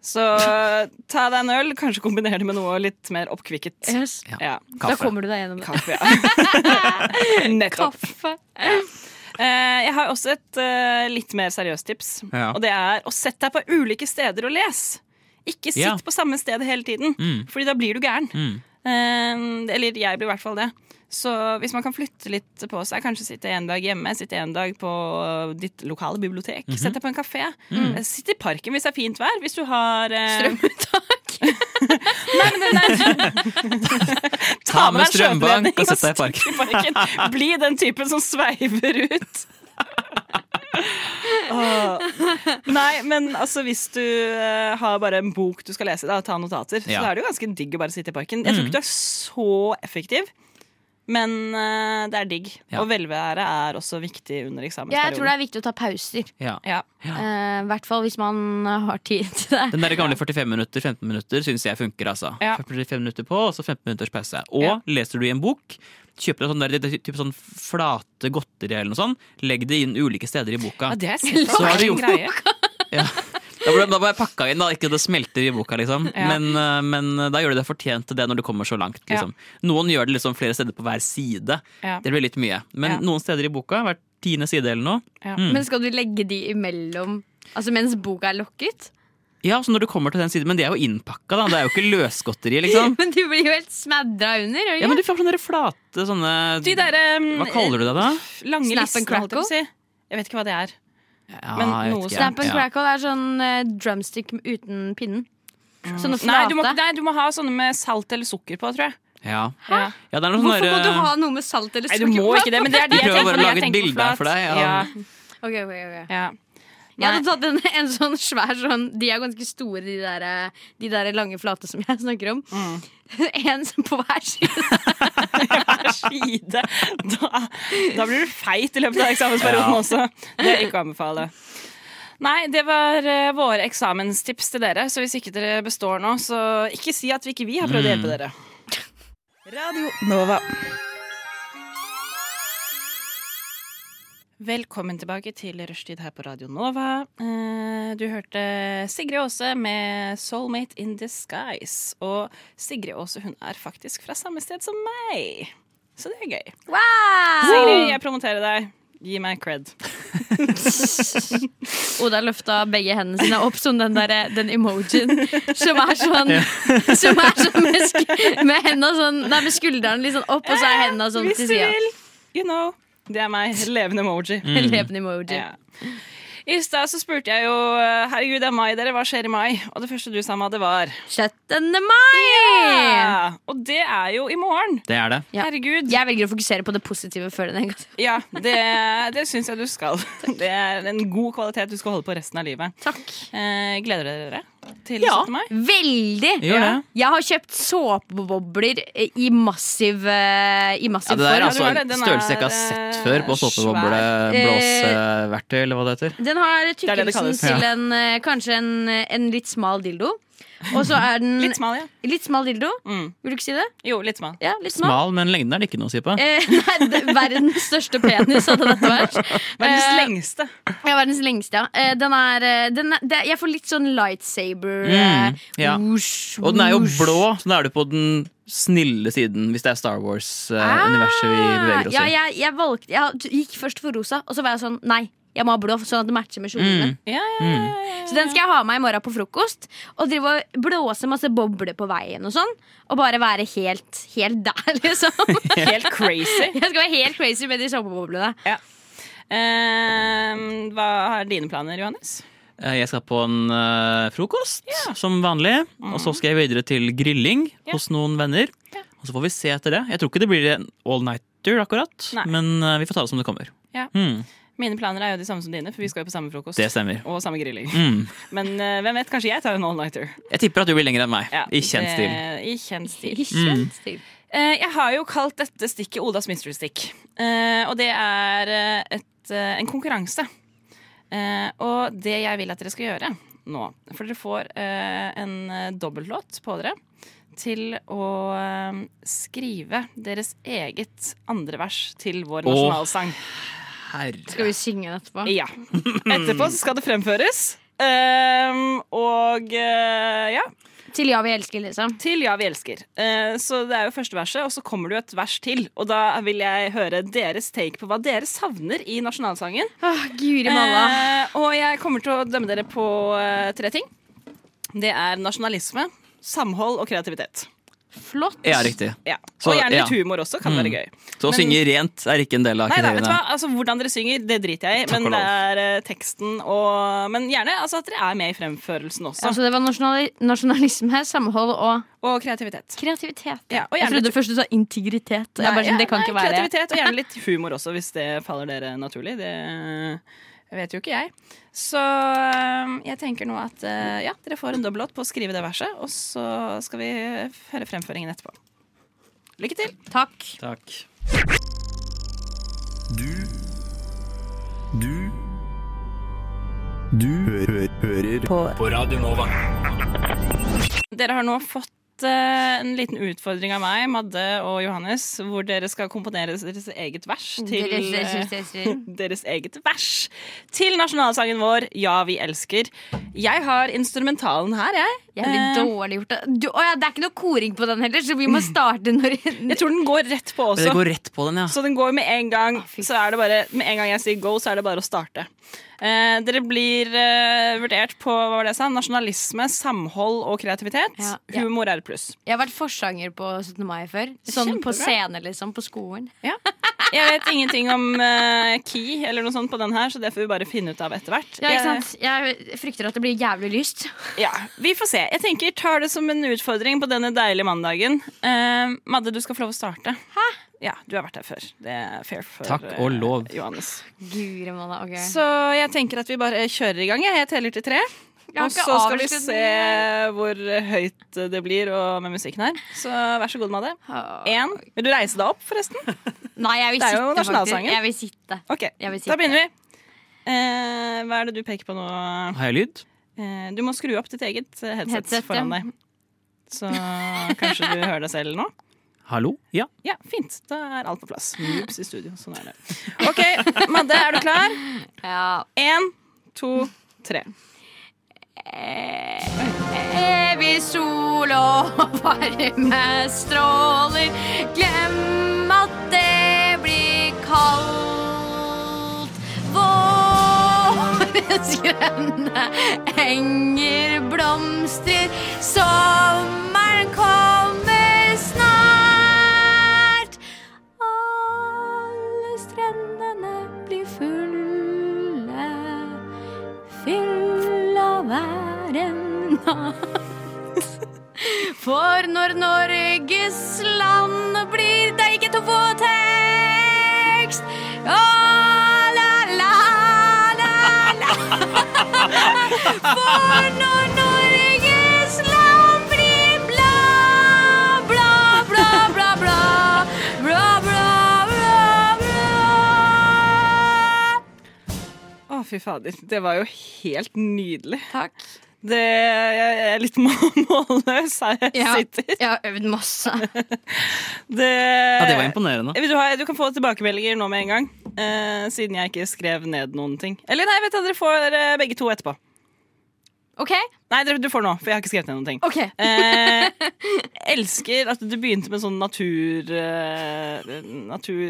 Speaker 3: Så ta deg en øl, kanskje kombiner det med noe litt mer oppkvikket.
Speaker 4: Yes.
Speaker 3: Ja.
Speaker 4: Da
Speaker 5: Kaffe.
Speaker 4: kommer du deg gjennom det.
Speaker 3: Kaffe, ja. Nettopp.
Speaker 4: <laughs> Kaffe.
Speaker 3: Eh, jeg har også et eh, litt mer seriøst tips.
Speaker 5: Ja.
Speaker 3: Og det er å sette deg på ulike steder og lese. Ikke sitt
Speaker 5: Ja.
Speaker 3: på samme sted hele tiden,
Speaker 5: Mm.
Speaker 3: Fordi da blir du gæren.
Speaker 5: Mm.
Speaker 3: Eh, eller jeg blir i hvert fall det. Så hvis man kan flytte litt på seg, kanskje sitte en dag hjemme, sitte en dag på eh, ditt lokale bibliotek,
Speaker 5: Mhm.
Speaker 3: sett deg på en kafé,
Speaker 5: Mm.
Speaker 3: eh, sitt i parken hvis det er fint vær, hvis du har eh,
Speaker 4: Strømuttak.
Speaker 3: Nei, men nei, nei.
Speaker 5: Ta med strømbank og sett deg i parken.
Speaker 3: <laughs> i parken. Bli den typen som sveiver ut. Åh. Nei, men altså hvis du eh, har bare en bok du skal lese, da, ta notater,
Speaker 5: Ja. Mm.
Speaker 3: så er det jo ganske digg å bare sitte i parken. Jeg tror ikke du er så effektiv, men eh, det er digg.
Speaker 5: Ja.
Speaker 3: Og velvære er også viktig under
Speaker 4: Ja, jeg tror det
Speaker 3: eksamensperioden.
Speaker 4: er viktig å ta pauser. eh,
Speaker 5: Ja.
Speaker 3: Ja.
Speaker 4: I hvert fall hvis man har tid til det.
Speaker 5: Den der gamle 45 minutter, 15 minutter syns jeg funker. altså.
Speaker 3: Ja.
Speaker 5: 45 minutter på, og så 15 minutters pause. Og
Speaker 3: Ja.
Speaker 5: leser du i en bok, kjøper deg sånn der, det er typ sånn flate godteri eller noe sånt, legg det inn ulike steder i boka.
Speaker 3: Ja, det er
Speaker 5: Så har du
Speaker 3: en
Speaker 5: gjort-
Speaker 3: greie.
Speaker 5: Ja. Da ble, da ble jeg pakka inn, da. Ikke at det smelter i boka, liksom.
Speaker 3: Ja.
Speaker 5: Men, eh, men da gjør du deg fortjent til det når du kommer så langt. Liksom. Noen gjør det liksom flere steder på hver side.
Speaker 3: Ja.
Speaker 5: Det blir litt mye. Men
Speaker 3: Ja.
Speaker 5: noen steder i boka, hver tiende side eller noe
Speaker 3: Ja.
Speaker 4: Men skal du legge de imellom Altså mens boka er lukket?
Speaker 5: Ja, så når du kommer til den siden, men de er jo innpakka, da. Det er jo ikke løsgodteri, liksom.
Speaker 4: <laughs> Men de blir jo helt smadra under. gjør de
Speaker 5: Ja,
Speaker 4: ikke?
Speaker 5: men du får sånne der flate sånne
Speaker 3: De derre
Speaker 5: Hva kaller du det, da?
Speaker 3: Lange
Speaker 4: Snap and
Speaker 3: lister, holdt jeg på å si. Jeg vet ikke hva det er.
Speaker 5: Ja,
Speaker 3: Men
Speaker 5: jeg
Speaker 3: noe
Speaker 5: vet ikke.
Speaker 4: Snap and
Speaker 5: Ja.
Speaker 4: crackle er sånn eh, drumstick uten pinnen. Sånne flate.
Speaker 3: Nei du, må, ikke- nei, du må ha sånne med salt eller sukker på, tror jeg.
Speaker 5: Ja.
Speaker 3: Ja.
Speaker 5: ja, det er sånn noen sånne
Speaker 4: Hvorfor må du
Speaker 5: derre-
Speaker 4: ha noe med salt eller
Speaker 3: Sånn Nei, du
Speaker 4: sukker?
Speaker 3: må
Speaker 4: på?
Speaker 3: ikke det, men det er de
Speaker 5: Jeg
Speaker 3: jeg
Speaker 5: prøver
Speaker 3: tenker på.
Speaker 5: bare å lage
Speaker 3: Jeg
Speaker 5: et
Speaker 3: tenker på
Speaker 5: bilde her for
Speaker 3: flat.
Speaker 5: deg,
Speaker 3: Ja.
Speaker 5: ja.
Speaker 4: Ok, ok, ok.
Speaker 3: Ja. <laughs>
Speaker 4: Jeg hadde tatt en, en sånn svær sånn De er ganske store, de der, eh, de der lange flate som jeg snakker om.
Speaker 3: Mm.
Speaker 4: <laughs> En som på hver side.
Speaker 3: Hver side. Da, da blir du feit i løpet av eksamensperioden
Speaker 5: Ja.
Speaker 3: også. Det er ikke å anbefale. Nei, det var eh, våre eksamenstips til dere, så hvis ikke dere består nå, så ikke si at vi ikke vi har prøvd å
Speaker 5: Mm.
Speaker 3: hjelpe dere. Radio Nova. Velkommen tilbake til Rushtid her på Radio Nova. Eh, Du hørte Sigrid Aase med 'Soulmate in Disguise'. Og Sigrid Aase hun er faktisk fra samme sted som meg, så det er gøy. Sigrid, jeg promoterer deg. Gi meg cred.
Speaker 4: Oda løfta begge hendene sine opp som den, der, eh, den emojien som er sånn <laughs> Som er sånn med, sk med hendene sånn Nei, med skuldrene litt sånn opp, og så er hendene sånn
Speaker 3: Hvis
Speaker 4: til
Speaker 3: du
Speaker 4: sida.
Speaker 3: vil. You know. Det er meg. Levende emoji.
Speaker 4: Mm. Levende emoji.
Speaker 3: Mm. Ja. I stad så spurte jeg jo eh, Herregud, det er mai, dere. Hva skjer i mai? Og det første du sa, Madde, var
Speaker 4: 17. mai!
Speaker 3: «Ah, Og det er jo i morgen.
Speaker 5: Det er det.
Speaker 4: Ja.
Speaker 3: Herregud.
Speaker 4: Jeg velger å fokusere på det positive før det negative.
Speaker 3: Ja, det, det syns jeg du skal. Det er en god kvalitet du skal holde på resten av livet.
Speaker 4: Takk.
Speaker 3: Eh, gleder dere dere til 17. mai?
Speaker 4: Veldig!
Speaker 5: Gjør det.
Speaker 4: Jeg har kjøpt såpebobler eh, i massiv, eh, i
Speaker 5: Ja,
Speaker 4: massiv
Speaker 5: det der er
Speaker 4: form.
Speaker 5: altså
Speaker 3: Ja, du har
Speaker 5: en
Speaker 3: det. Den
Speaker 5: størrelse jeg ikke har
Speaker 3: er,
Speaker 5: sett før på
Speaker 3: eh, svær.
Speaker 5: såpebobleblåseverktøy, eller hva det heter.
Speaker 4: Den har
Speaker 3: er det det
Speaker 4: tykkelsen
Speaker 3: kalles.
Speaker 4: til en, eh, kanskje en, en litt smal dildo. Og så er den
Speaker 3: Litt smal, ja.
Speaker 4: litt smal dildo.
Speaker 3: Mm.
Speaker 4: Vil du ikke si det?
Speaker 3: Jo, litt smal.
Speaker 4: Ja, litt smal.
Speaker 5: Smal, men lengden er det ikke noe å si på.
Speaker 4: Eh, nei, det- verdens største penis hadde dette vært.
Speaker 3: Verdens
Speaker 4: Eh,
Speaker 3: lengste.
Speaker 4: Ja, verdens lengste, ja. Eh, Den er, eh, den er det, Jeg får litt sånn lightsaber eh,
Speaker 5: Mm, ja.
Speaker 4: whoosh,
Speaker 5: Og den er jo
Speaker 4: whoosh.
Speaker 5: blå, så da er du på den snille siden hvis det er Star Wars-universet vi
Speaker 3: Ah,
Speaker 5: beveger oss
Speaker 4: Ah, ja,
Speaker 5: i.
Speaker 4: jeg, jeg, valgte, jeg gikk først for rosa, og så var jeg sånn Nei, jeg må ha blå, sånn at det matcher med kjolen. min.
Speaker 5: Mm.
Speaker 3: Ja, ja, ja,
Speaker 5: Mm.
Speaker 3: ja,
Speaker 4: Så den skal jeg ha med i morgen på frokost. Og drive og blåse masse bobler på veien og sånn. Og bare være helt, helt der, <laughs> liksom.
Speaker 3: ja. Helt crazy.
Speaker 4: Jeg skal være helt crazy med de såpeboblene.
Speaker 3: Eh, hva er dine planer, Johannes?
Speaker 5: Eh, Jeg skal på en eh, frokost, som vanlig. Og så skal jeg videre til grilling
Speaker 3: Mm. Ja.
Speaker 5: hos noen venner.
Speaker 3: Ja.
Speaker 5: Og så får vi se etter det. Jeg tror ikke det blir en all-nighter, akkurat.
Speaker 3: Nei.
Speaker 5: Men eh, vi får ta det som det kommer.
Speaker 3: Ja.
Speaker 5: Mm,
Speaker 3: Mine planer er jo de samme som dine, for vi skal jo på samme frokost.
Speaker 5: det stemmer.
Speaker 3: Og samme grilling.
Speaker 5: Mm.
Speaker 3: Men eh, hvem vet, kanskje jeg tar en all-nighter.
Speaker 5: Jeg tipper at du blir lenger enn meg,
Speaker 3: Ja,
Speaker 5: i kjent stil.
Speaker 3: det- I kjent stil.
Speaker 5: Mm.
Speaker 3: Eh, jeg har jo kalt dette stikket Odas mystery stick. Eh, og det er eh, et, eh, en konkurranse. Eh, og det jeg vil at dere skal gjøre nå For dere får eh, en eh, dobbeltlåt på dere til å eh, skrive deres eget andre vers til vår
Speaker 5: Å.
Speaker 3: nasjonalsang.
Speaker 5: Herre.
Speaker 4: Skal vi synge den etterpå?
Speaker 3: Ja. Etterpå så skal det fremføres. Ehm, og eh, ja,
Speaker 4: Til ja, vi elsker, liksom.
Speaker 3: til Ja, vi elsker. Eh, så det er jo første verset, og så kommer det jo et vers til. Og da vil jeg høre deres take på hva dere savner i nasjonalsangen.
Speaker 4: Åh, Guri malla.
Speaker 3: Eh, og jeg kommer til å dømme dere på eh, tre ting. Det er nasjonalisme, samhold og kreativitet.
Speaker 4: Eh, Flott.
Speaker 5: Ja, riktig.
Speaker 3: Ja.
Speaker 5: Så,
Speaker 3: og gjerne
Speaker 5: ja.
Speaker 3: litt humor også, kan være gøy.
Speaker 5: Så å
Speaker 3: Men-
Speaker 5: synge rent er ikke en del av
Speaker 3: Nei da, vet du
Speaker 5: kriteriene.
Speaker 3: hva? Altså, hvordan dere synger, det driter jeg i,
Speaker 5: Takk
Speaker 3: men
Speaker 5: og
Speaker 3: det
Speaker 5: lov.
Speaker 3: er eh, teksten og Men gjerne altså, at dere er med i fremførelsen
Speaker 4: Ja, altså-
Speaker 3: også.
Speaker 4: så det var nasjonali nasjonalisme, samhold og
Speaker 3: Og kreativitet.
Speaker 4: kreativitet.
Speaker 3: Ja, og
Speaker 4: Jeg
Speaker 3: gjerne
Speaker 4: trodde først du sa integritet. Og jeg bare
Speaker 3: Nei,
Speaker 4: sånn, det kan
Speaker 3: nei,
Speaker 4: ikke være
Speaker 3: Kreativitet og gjerne
Speaker 4: <laughs>
Speaker 3: litt humor også, hvis det faller dere naturlig. Det vet jo ikke jeg. Så øhm, jeg tenker nå at øh, ja, dere får en dobbellåt på å skrive det verset, og så skal vi høre fremføringen etterpå. Lykke til.
Speaker 4: Takk.
Speaker 5: Takk.
Speaker 9: Du Du Du hører på Radio Nova.
Speaker 3: Dere har nå fått fått eh, en liten utfordring av meg, Madde og Johannes, hvor dere skal komponere deres eget vers til
Speaker 4: Deres-
Speaker 3: eh,
Speaker 4: deres-
Speaker 3: <laughs> deres eget vers til nasjonalsangen vår 'Ja, vi elsker'. Jeg har instrumentalen her, jeg.
Speaker 4: Jævlig
Speaker 3: Eh,
Speaker 4: dårlig gjort. da. Du, å ja, det er ikke noe koring på den heller, så vi må starte når <laughs>
Speaker 3: Jeg tror den går rett på
Speaker 5: Men det
Speaker 3: også.
Speaker 5: går rett på den, ja.
Speaker 3: Så den går med en gang.
Speaker 4: fy
Speaker 3: Så er det bare, med en gang jeg sier go, så er det bare å starte. Eh, dere blir eh, vurdert på hva var det jeg sa? nasjonalisme, samhold og kreativitet.
Speaker 4: Ja, ja.
Speaker 3: Humor er et pluss.
Speaker 4: Jeg har vært forsanger på 17. mai før. Sånn på scene, liksom. På skolen.
Speaker 3: Jeg vet ingenting om eh, key eller noe sånt på den her, så det får vi bare finne ut av etter hvert.
Speaker 4: Ja, ikke sant? Jeg frykter at det blir jævlig lyst.
Speaker 3: Eh, ja, vi får se. Jeg tenker tar det som en utfordring på denne deilige mandagen. Eh, Madde, du skal få lov å starte. Hæ? Ja, du har vært her før. Det er fair for
Speaker 5: Takk og
Speaker 3: eh,
Speaker 5: lov.
Speaker 3: Johannes.
Speaker 4: Guri malla, ok.
Speaker 3: Så jeg tenker at vi bare kjører i gang. jeg. Jeg teller til tre.
Speaker 4: Jeg har
Speaker 3: Og
Speaker 4: ikke
Speaker 3: så skal vi
Speaker 4: avsluttet
Speaker 3: se hvor høyt det blir og med musikken her. Så vær så god, Madde.
Speaker 4: Ah.
Speaker 3: Én. Vil du reise deg opp, forresten?
Speaker 4: Nei, <laughs> jeg vil
Speaker 3: Det er
Speaker 4: sitte,
Speaker 3: jo
Speaker 4: faktisk.
Speaker 3: nasjonalsangen.
Speaker 4: Jeg vil sitte.
Speaker 3: Ok,
Speaker 4: Jeg vil sitte.
Speaker 3: Da begynner vi. Eh, hva er det du peker på nå?
Speaker 5: Har jeg lyd?
Speaker 3: Eh, du må skru opp ditt eget eh, headset,
Speaker 4: Headset,
Speaker 3: foran
Speaker 4: ja.
Speaker 3: deg. Så kanskje du hører deg selv nå?
Speaker 5: Hallo? Ja.
Speaker 3: Ja, fint. Da er alt på plass. Noobs i studio. Sånn er det. OK, Madde, er du klar?
Speaker 4: Ja.
Speaker 3: Én, to, tre.
Speaker 4: Evig sol og <laughs> varme stråler. Glem at det blir kaldt. Vårens grønne enger blomstrer. Sommeren kommer snart. Alle strendene blir fulle. Fyll av hver en natt. For når Norges land blir Det er ikke to på tekst. Å, la, la, la, la. For når Norges land blir bla, bla, bla, bla, bla, bla, bla, bla, bla.
Speaker 3: Å, fy fader. Det var jo helt nydelig.
Speaker 4: Takk.
Speaker 3: Det, jeg jeg er litt <laughs> må- målløs her jeg
Speaker 4: Ja,
Speaker 3: sitter.
Speaker 4: jeg har øvd masse.
Speaker 3: Det,
Speaker 5: ja. Det var
Speaker 3: Eh,
Speaker 5: imponerende.
Speaker 3: Vil Du, ha, du kan få tilbakemeldinger nå med en gang, eh, siden jeg ikke skrev ned noen ting. Eller nei, vet du, dere får eh, begge to etterpå.
Speaker 4: OK?
Speaker 3: Nei, dere, du får nå, for jeg har ikke skrevet ned noen ting.
Speaker 4: OK.
Speaker 3: Eh, elsker at du begynte med sånne natur eh,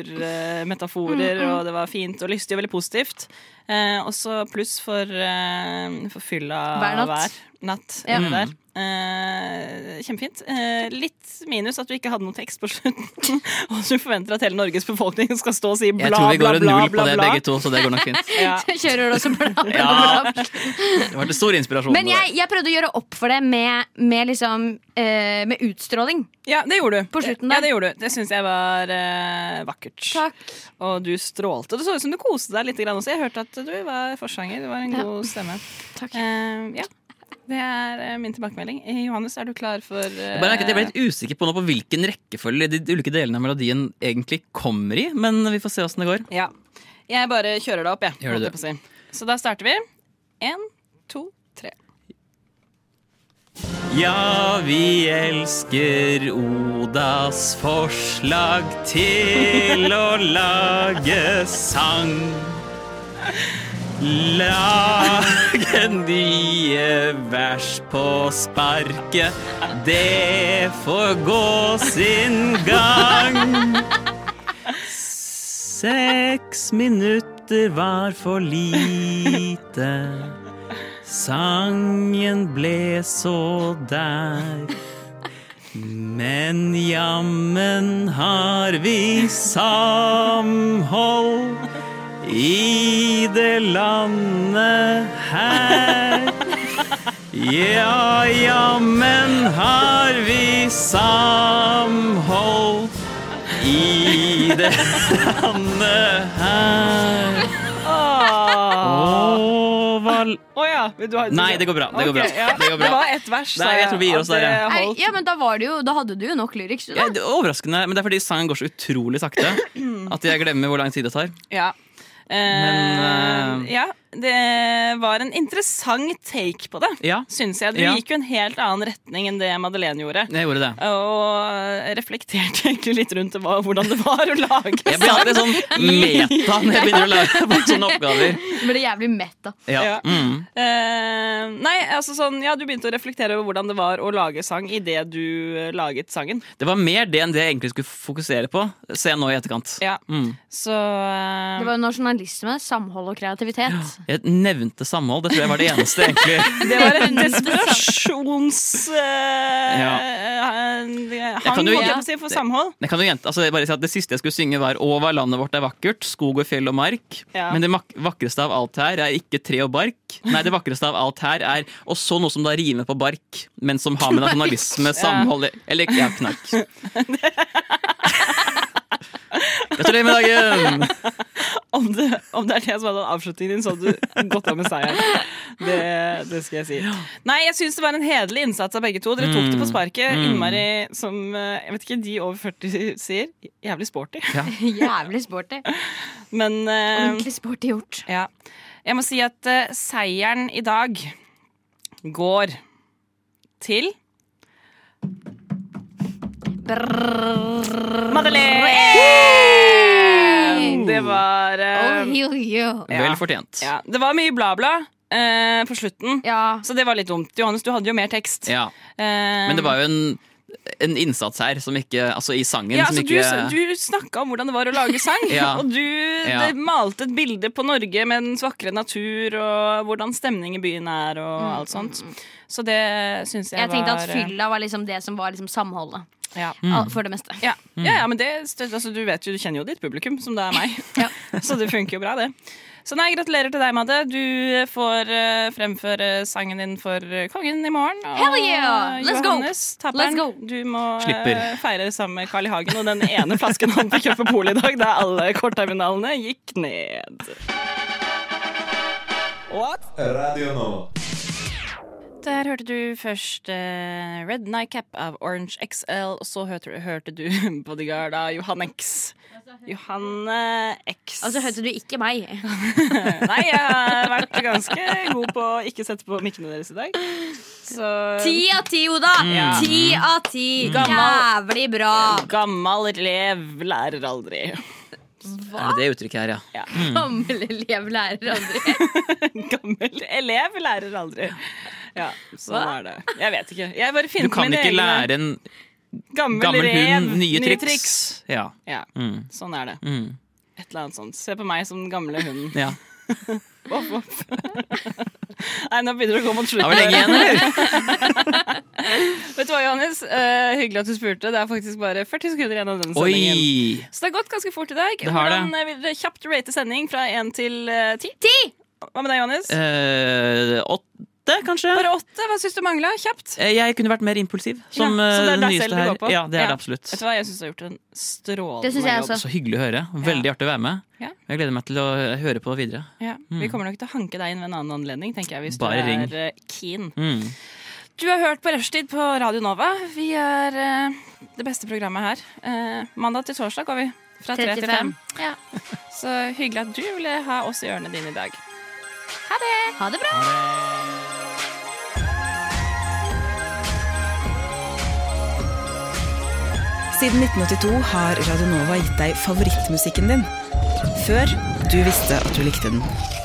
Speaker 4: Mm,
Speaker 3: naturmetaforer, og det var fint og lystig og veldig positivt. Eh, også pluss for, eh, for fylla
Speaker 4: Hver natt.
Speaker 3: natt
Speaker 4: Ja.
Speaker 3: inni
Speaker 5: Mm.
Speaker 3: der. Eh, kjempefint. Eh, litt minus at du ikke hadde noe tekst på slutten. <laughs> og du forventer at hele Norges befolkning skal stå og si bla,
Speaker 5: Jeg tror vi
Speaker 3: bla,
Speaker 5: går en
Speaker 3: bla,
Speaker 5: null på
Speaker 3: bla,
Speaker 5: det
Speaker 3: bla.
Speaker 5: begge to, så det går nok fint.
Speaker 3: <laughs> <laughs> Ja.
Speaker 4: <laughs> Kjører du også bla, bla, bla?
Speaker 5: Ja, Det var til stor
Speaker 4: <laughs>
Speaker 5: inspirasjon.
Speaker 4: Men jeg, jeg prøvde å gjøre opp for det med, med, liksom, eh, med utstråling.
Speaker 3: ja, det gjorde du.
Speaker 4: På slutten
Speaker 3: ja,
Speaker 4: der.
Speaker 3: det gjorde du. Det syns jeg var eh, vakkert. Og du strålte. Det så ut som du koste deg litt grann også. Jeg hørte at du var forsanger. Det var en
Speaker 4: Ja.
Speaker 3: god stemme.
Speaker 4: Takk.
Speaker 3: Eh, ja. Det er eh, min tilbakemelding. Eh, Johannes, er du klar for eh,
Speaker 5: Jeg bare merket at jeg ble litt usikker på nå på hvilken rekkefølge de ulike delene av melodien egentlig kommer i, men vi får se åssen det går.
Speaker 3: Ja. Jeg bare kjører det opp, jeg.
Speaker 5: Gjør
Speaker 3: holdt
Speaker 5: det
Speaker 3: jeg på å si. Så da starter vi. Én, to, tre.
Speaker 5: Ja, vi elsker Odas forslag til å lage sang. Lage nye vers på sparket, det får gå sin gang. Seks minutter var for lite. Sangen ble så der. Men jammen har vi samhold i det landet her. Ja, jammen har vi samhold i det landet her.
Speaker 3: Å
Speaker 5: Og hva
Speaker 3: ja. Vil du ha
Speaker 5: Nei, det går bra. Det går bra.
Speaker 3: Ok, ja.
Speaker 5: Det
Speaker 3: Det
Speaker 5: går bra.
Speaker 3: var ett vers. sa
Speaker 5: Nei, jeg tror vi gir
Speaker 3: at
Speaker 5: oss der, ja.
Speaker 3: det
Speaker 4: Er,
Speaker 3: holdt.
Speaker 4: ja, men da, var det jo, da hadde du jo nok lyrics. du,
Speaker 5: Ja,
Speaker 4: Da.
Speaker 5: det er overraskende, men det er fordi sangen går så utrolig sakte at jeg glemmer hvor lang tid det tar.
Speaker 3: Ja. Eh,
Speaker 5: Men, eh,
Speaker 3: ja. det var en interessant take på det,
Speaker 5: Ja,
Speaker 3: syns jeg. Du
Speaker 5: Ja.
Speaker 3: gikk jo en helt annen retning enn det Madeleine gjorde.
Speaker 5: jeg gjorde det.
Speaker 3: Og reflekterte egentlig litt rundt det, hva- hvordan det var å lage
Speaker 5: Jeg blir alltid sånn meta når jeg begynner å lage på sånne oppgaver.
Speaker 4: Ble det jævlig mett, da.
Speaker 5: Ja.
Speaker 3: Ja.
Speaker 5: Mm.
Speaker 3: <laughs> Eh, nei, altså sånn, ja, du begynte å reflektere over hvordan det var å lage sang idet du eh, laget sangen.
Speaker 5: Det var mer det enn det jeg egentlig skulle fokusere på, ser jeg nå i etterkant.
Speaker 3: Ja.
Speaker 5: Mm.
Speaker 3: Så eh,
Speaker 4: Det var jo nasjonalisme, samhold og kreativitet.
Speaker 5: Jeg nevnte samhold, det tror jeg var det eneste egentlig.
Speaker 3: <laughs> det var en desperasjons... eh,
Speaker 5: Ja.
Speaker 3: eh,
Speaker 5: Jeg kan
Speaker 3: Hang,
Speaker 5: jo-
Speaker 3: holdt jeg på å si, for samhold.
Speaker 5: Jeg kan jo gjenta, altså jeg bare si at Det siste jeg skulle synge, var 'Å, hva landet vårt er vakkert'. Skog og fjell og mark.
Speaker 3: Ja.
Speaker 5: Men det mak vakreste av alt her er ikke tre og bark. Nei, det vakreste av alt her er også noe som da rimer på bark, men som har med
Speaker 3: <laughs>
Speaker 5: nasjonalisme, samhold Eller ja, knark. Gratulerer med dagen!
Speaker 3: Om det, om det er det som hadde avslutningen din, så hadde du gått av med seieren. Det, det skal jeg si. Nei, jeg syns det var en hederlig innsats av begge to. Dere tok det på sparket. Innmari som eh, Jeg vet ikke, de over 40 sier. Jævlig sporty.
Speaker 4: Jævlig
Speaker 3: <laughs>
Speaker 4: sporty.
Speaker 3: Um. Men eh,
Speaker 4: Ordentlig sporty gjort.
Speaker 3: Ja. Jeg må si at eh, seieren i dag går til Madeleine! Det var eh,
Speaker 4: Oh, yo, yo.
Speaker 5: Vel fortjent.
Speaker 3: ja, Det var mye bla-bla eh, på slutten,
Speaker 4: Ja.
Speaker 3: så det var litt dumt. Johannes, du hadde jo mer tekst. Eh,
Speaker 5: Ja. Men det var jo en, en innsats her som ikke Altså i sangen
Speaker 3: ja,
Speaker 5: som
Speaker 3: altså,
Speaker 5: ikke
Speaker 3: Du, du snakka om hvordan det var å lage sang,
Speaker 5: <laughs> Ja.
Speaker 3: og du
Speaker 5: Ja.
Speaker 3: det malte et bilde på Norge med dens vakre natur og hvordan stemning i byen er og alt sånt. Så det syns jeg,
Speaker 4: Mm. Jeg tenkte
Speaker 3: var
Speaker 4: at
Speaker 3: eh,
Speaker 4: fylla var liksom det som var liksom samholdet.
Speaker 3: Ja.
Speaker 4: Al- For det meste.
Speaker 3: Ja. ja, ja, men det, altså, du vet jo, du kjenner jo ditt publikum, som det er
Speaker 4: <laughs>
Speaker 3: meg. <laughs> Så det funker jo bra, det. Så nei, gratulerer til deg, Madde. Du eh, får eh, fremføre sangen din for eh, kongen i morgen. Og
Speaker 4: Hell yeah!
Speaker 3: eh,
Speaker 4: Let's go!
Speaker 3: Johannes,
Speaker 4: Let's
Speaker 3: tapperen,
Speaker 4: go!
Speaker 3: du må eh,
Speaker 5: Slipper.
Speaker 3: feire sammen med Carl I. Hagen og den ene flasken han fikk opp på polet i dag, der alle kortterminalene gikk ned. Der hørte du først eh, Red Nightcap av Orange XL, og så hørte, hørte du <laughs> Bodyguard av Johan X.
Speaker 4: Altså,
Speaker 3: Johanne X.
Speaker 4: Og så Altså, hørte du ikke meg.
Speaker 3: Nei, jeg har vært ganske god på å ikke sette på mikkene deres i dag. Så
Speaker 4: Ti av ti, Oda! Mm. Ti av ti.
Speaker 3: Gammel.
Speaker 4: Jævlig bra.
Speaker 3: Gammal rev lærer aldri. <laughs>
Speaker 5: Er det det uttrykket her, ja.
Speaker 4: Mm. Gammel elev lærer aldri.
Speaker 3: Gammel elev lærer aldri. Ja, sånn
Speaker 4: Hva?
Speaker 3: er det. Jeg vet ikke. Jeg bare
Speaker 5: Du
Speaker 3: finner på
Speaker 5: kan
Speaker 3: mine
Speaker 5: ikke
Speaker 3: egne.
Speaker 5: lære en
Speaker 3: gammel,
Speaker 5: gammel
Speaker 3: rev,
Speaker 5: hund nye triks. Ja.
Speaker 3: Ja,
Speaker 5: Mm.
Speaker 3: sånn er det.
Speaker 5: Mm.
Speaker 3: Et eller annet sånt. Se på meg som den gamle hunden.
Speaker 5: ja.
Speaker 3: Voff, voff. Nei, nå begynner det å gå mot
Speaker 5: Det var lenge
Speaker 3: slutten.
Speaker 5: igjen, eller?
Speaker 3: Vet du hva, Johannes? Eh, hyggelig at du spurte. Det er faktisk bare 40 sekunder igjen av denne sendingen.
Speaker 5: Oi!
Speaker 3: Så det har gått ganske fort i dag.
Speaker 5: Det har det.
Speaker 3: Hvordan eh, vil dere kjapt rate sending fra 1 til 10? 10! Hva med deg, Johannes?
Speaker 5: Eh, åtte, kanskje?
Speaker 3: Bare 8? Hva syns du mangla? Kjapt.
Speaker 5: Eh, Jeg kunne vært mer impulsiv. Som
Speaker 3: Ja, så det er deg selv
Speaker 5: eh, nyeste
Speaker 3: det
Speaker 5: her.
Speaker 3: går på?
Speaker 5: Ja, det er
Speaker 3: Ja.
Speaker 5: det absolutt.
Speaker 3: Vet du hva, jeg syns du har gjort en
Speaker 4: Det synes
Speaker 3: strålende
Speaker 4: jeg
Speaker 3: jobb.
Speaker 4: også.
Speaker 5: Så hyggelig å høre. Veldig artig å være med.
Speaker 3: Ja.
Speaker 5: Jeg gleder meg til å eh, høre på videre.
Speaker 3: Ja. Vi kommer nok til å hanke deg inn ved en annen anledning, tenker jeg, hvis
Speaker 5: Mm. Bare
Speaker 3: du
Speaker 5: ring.
Speaker 3: er eh, keen.
Speaker 5: Mm.
Speaker 3: Du har hørt på Rushtid på Radio Nova. Vi er eh, det beste programmet her. Eh, mandag til torsdag går vi fra 3 til 5.
Speaker 4: 35. Ja.
Speaker 3: Så hyggelig at du ville ha oss i ørene dine i dag.
Speaker 4: Ha det bra.
Speaker 11: Siden 1982 har Radio Nova gitt deg favorittmusikken din. Før du visste at du likte den.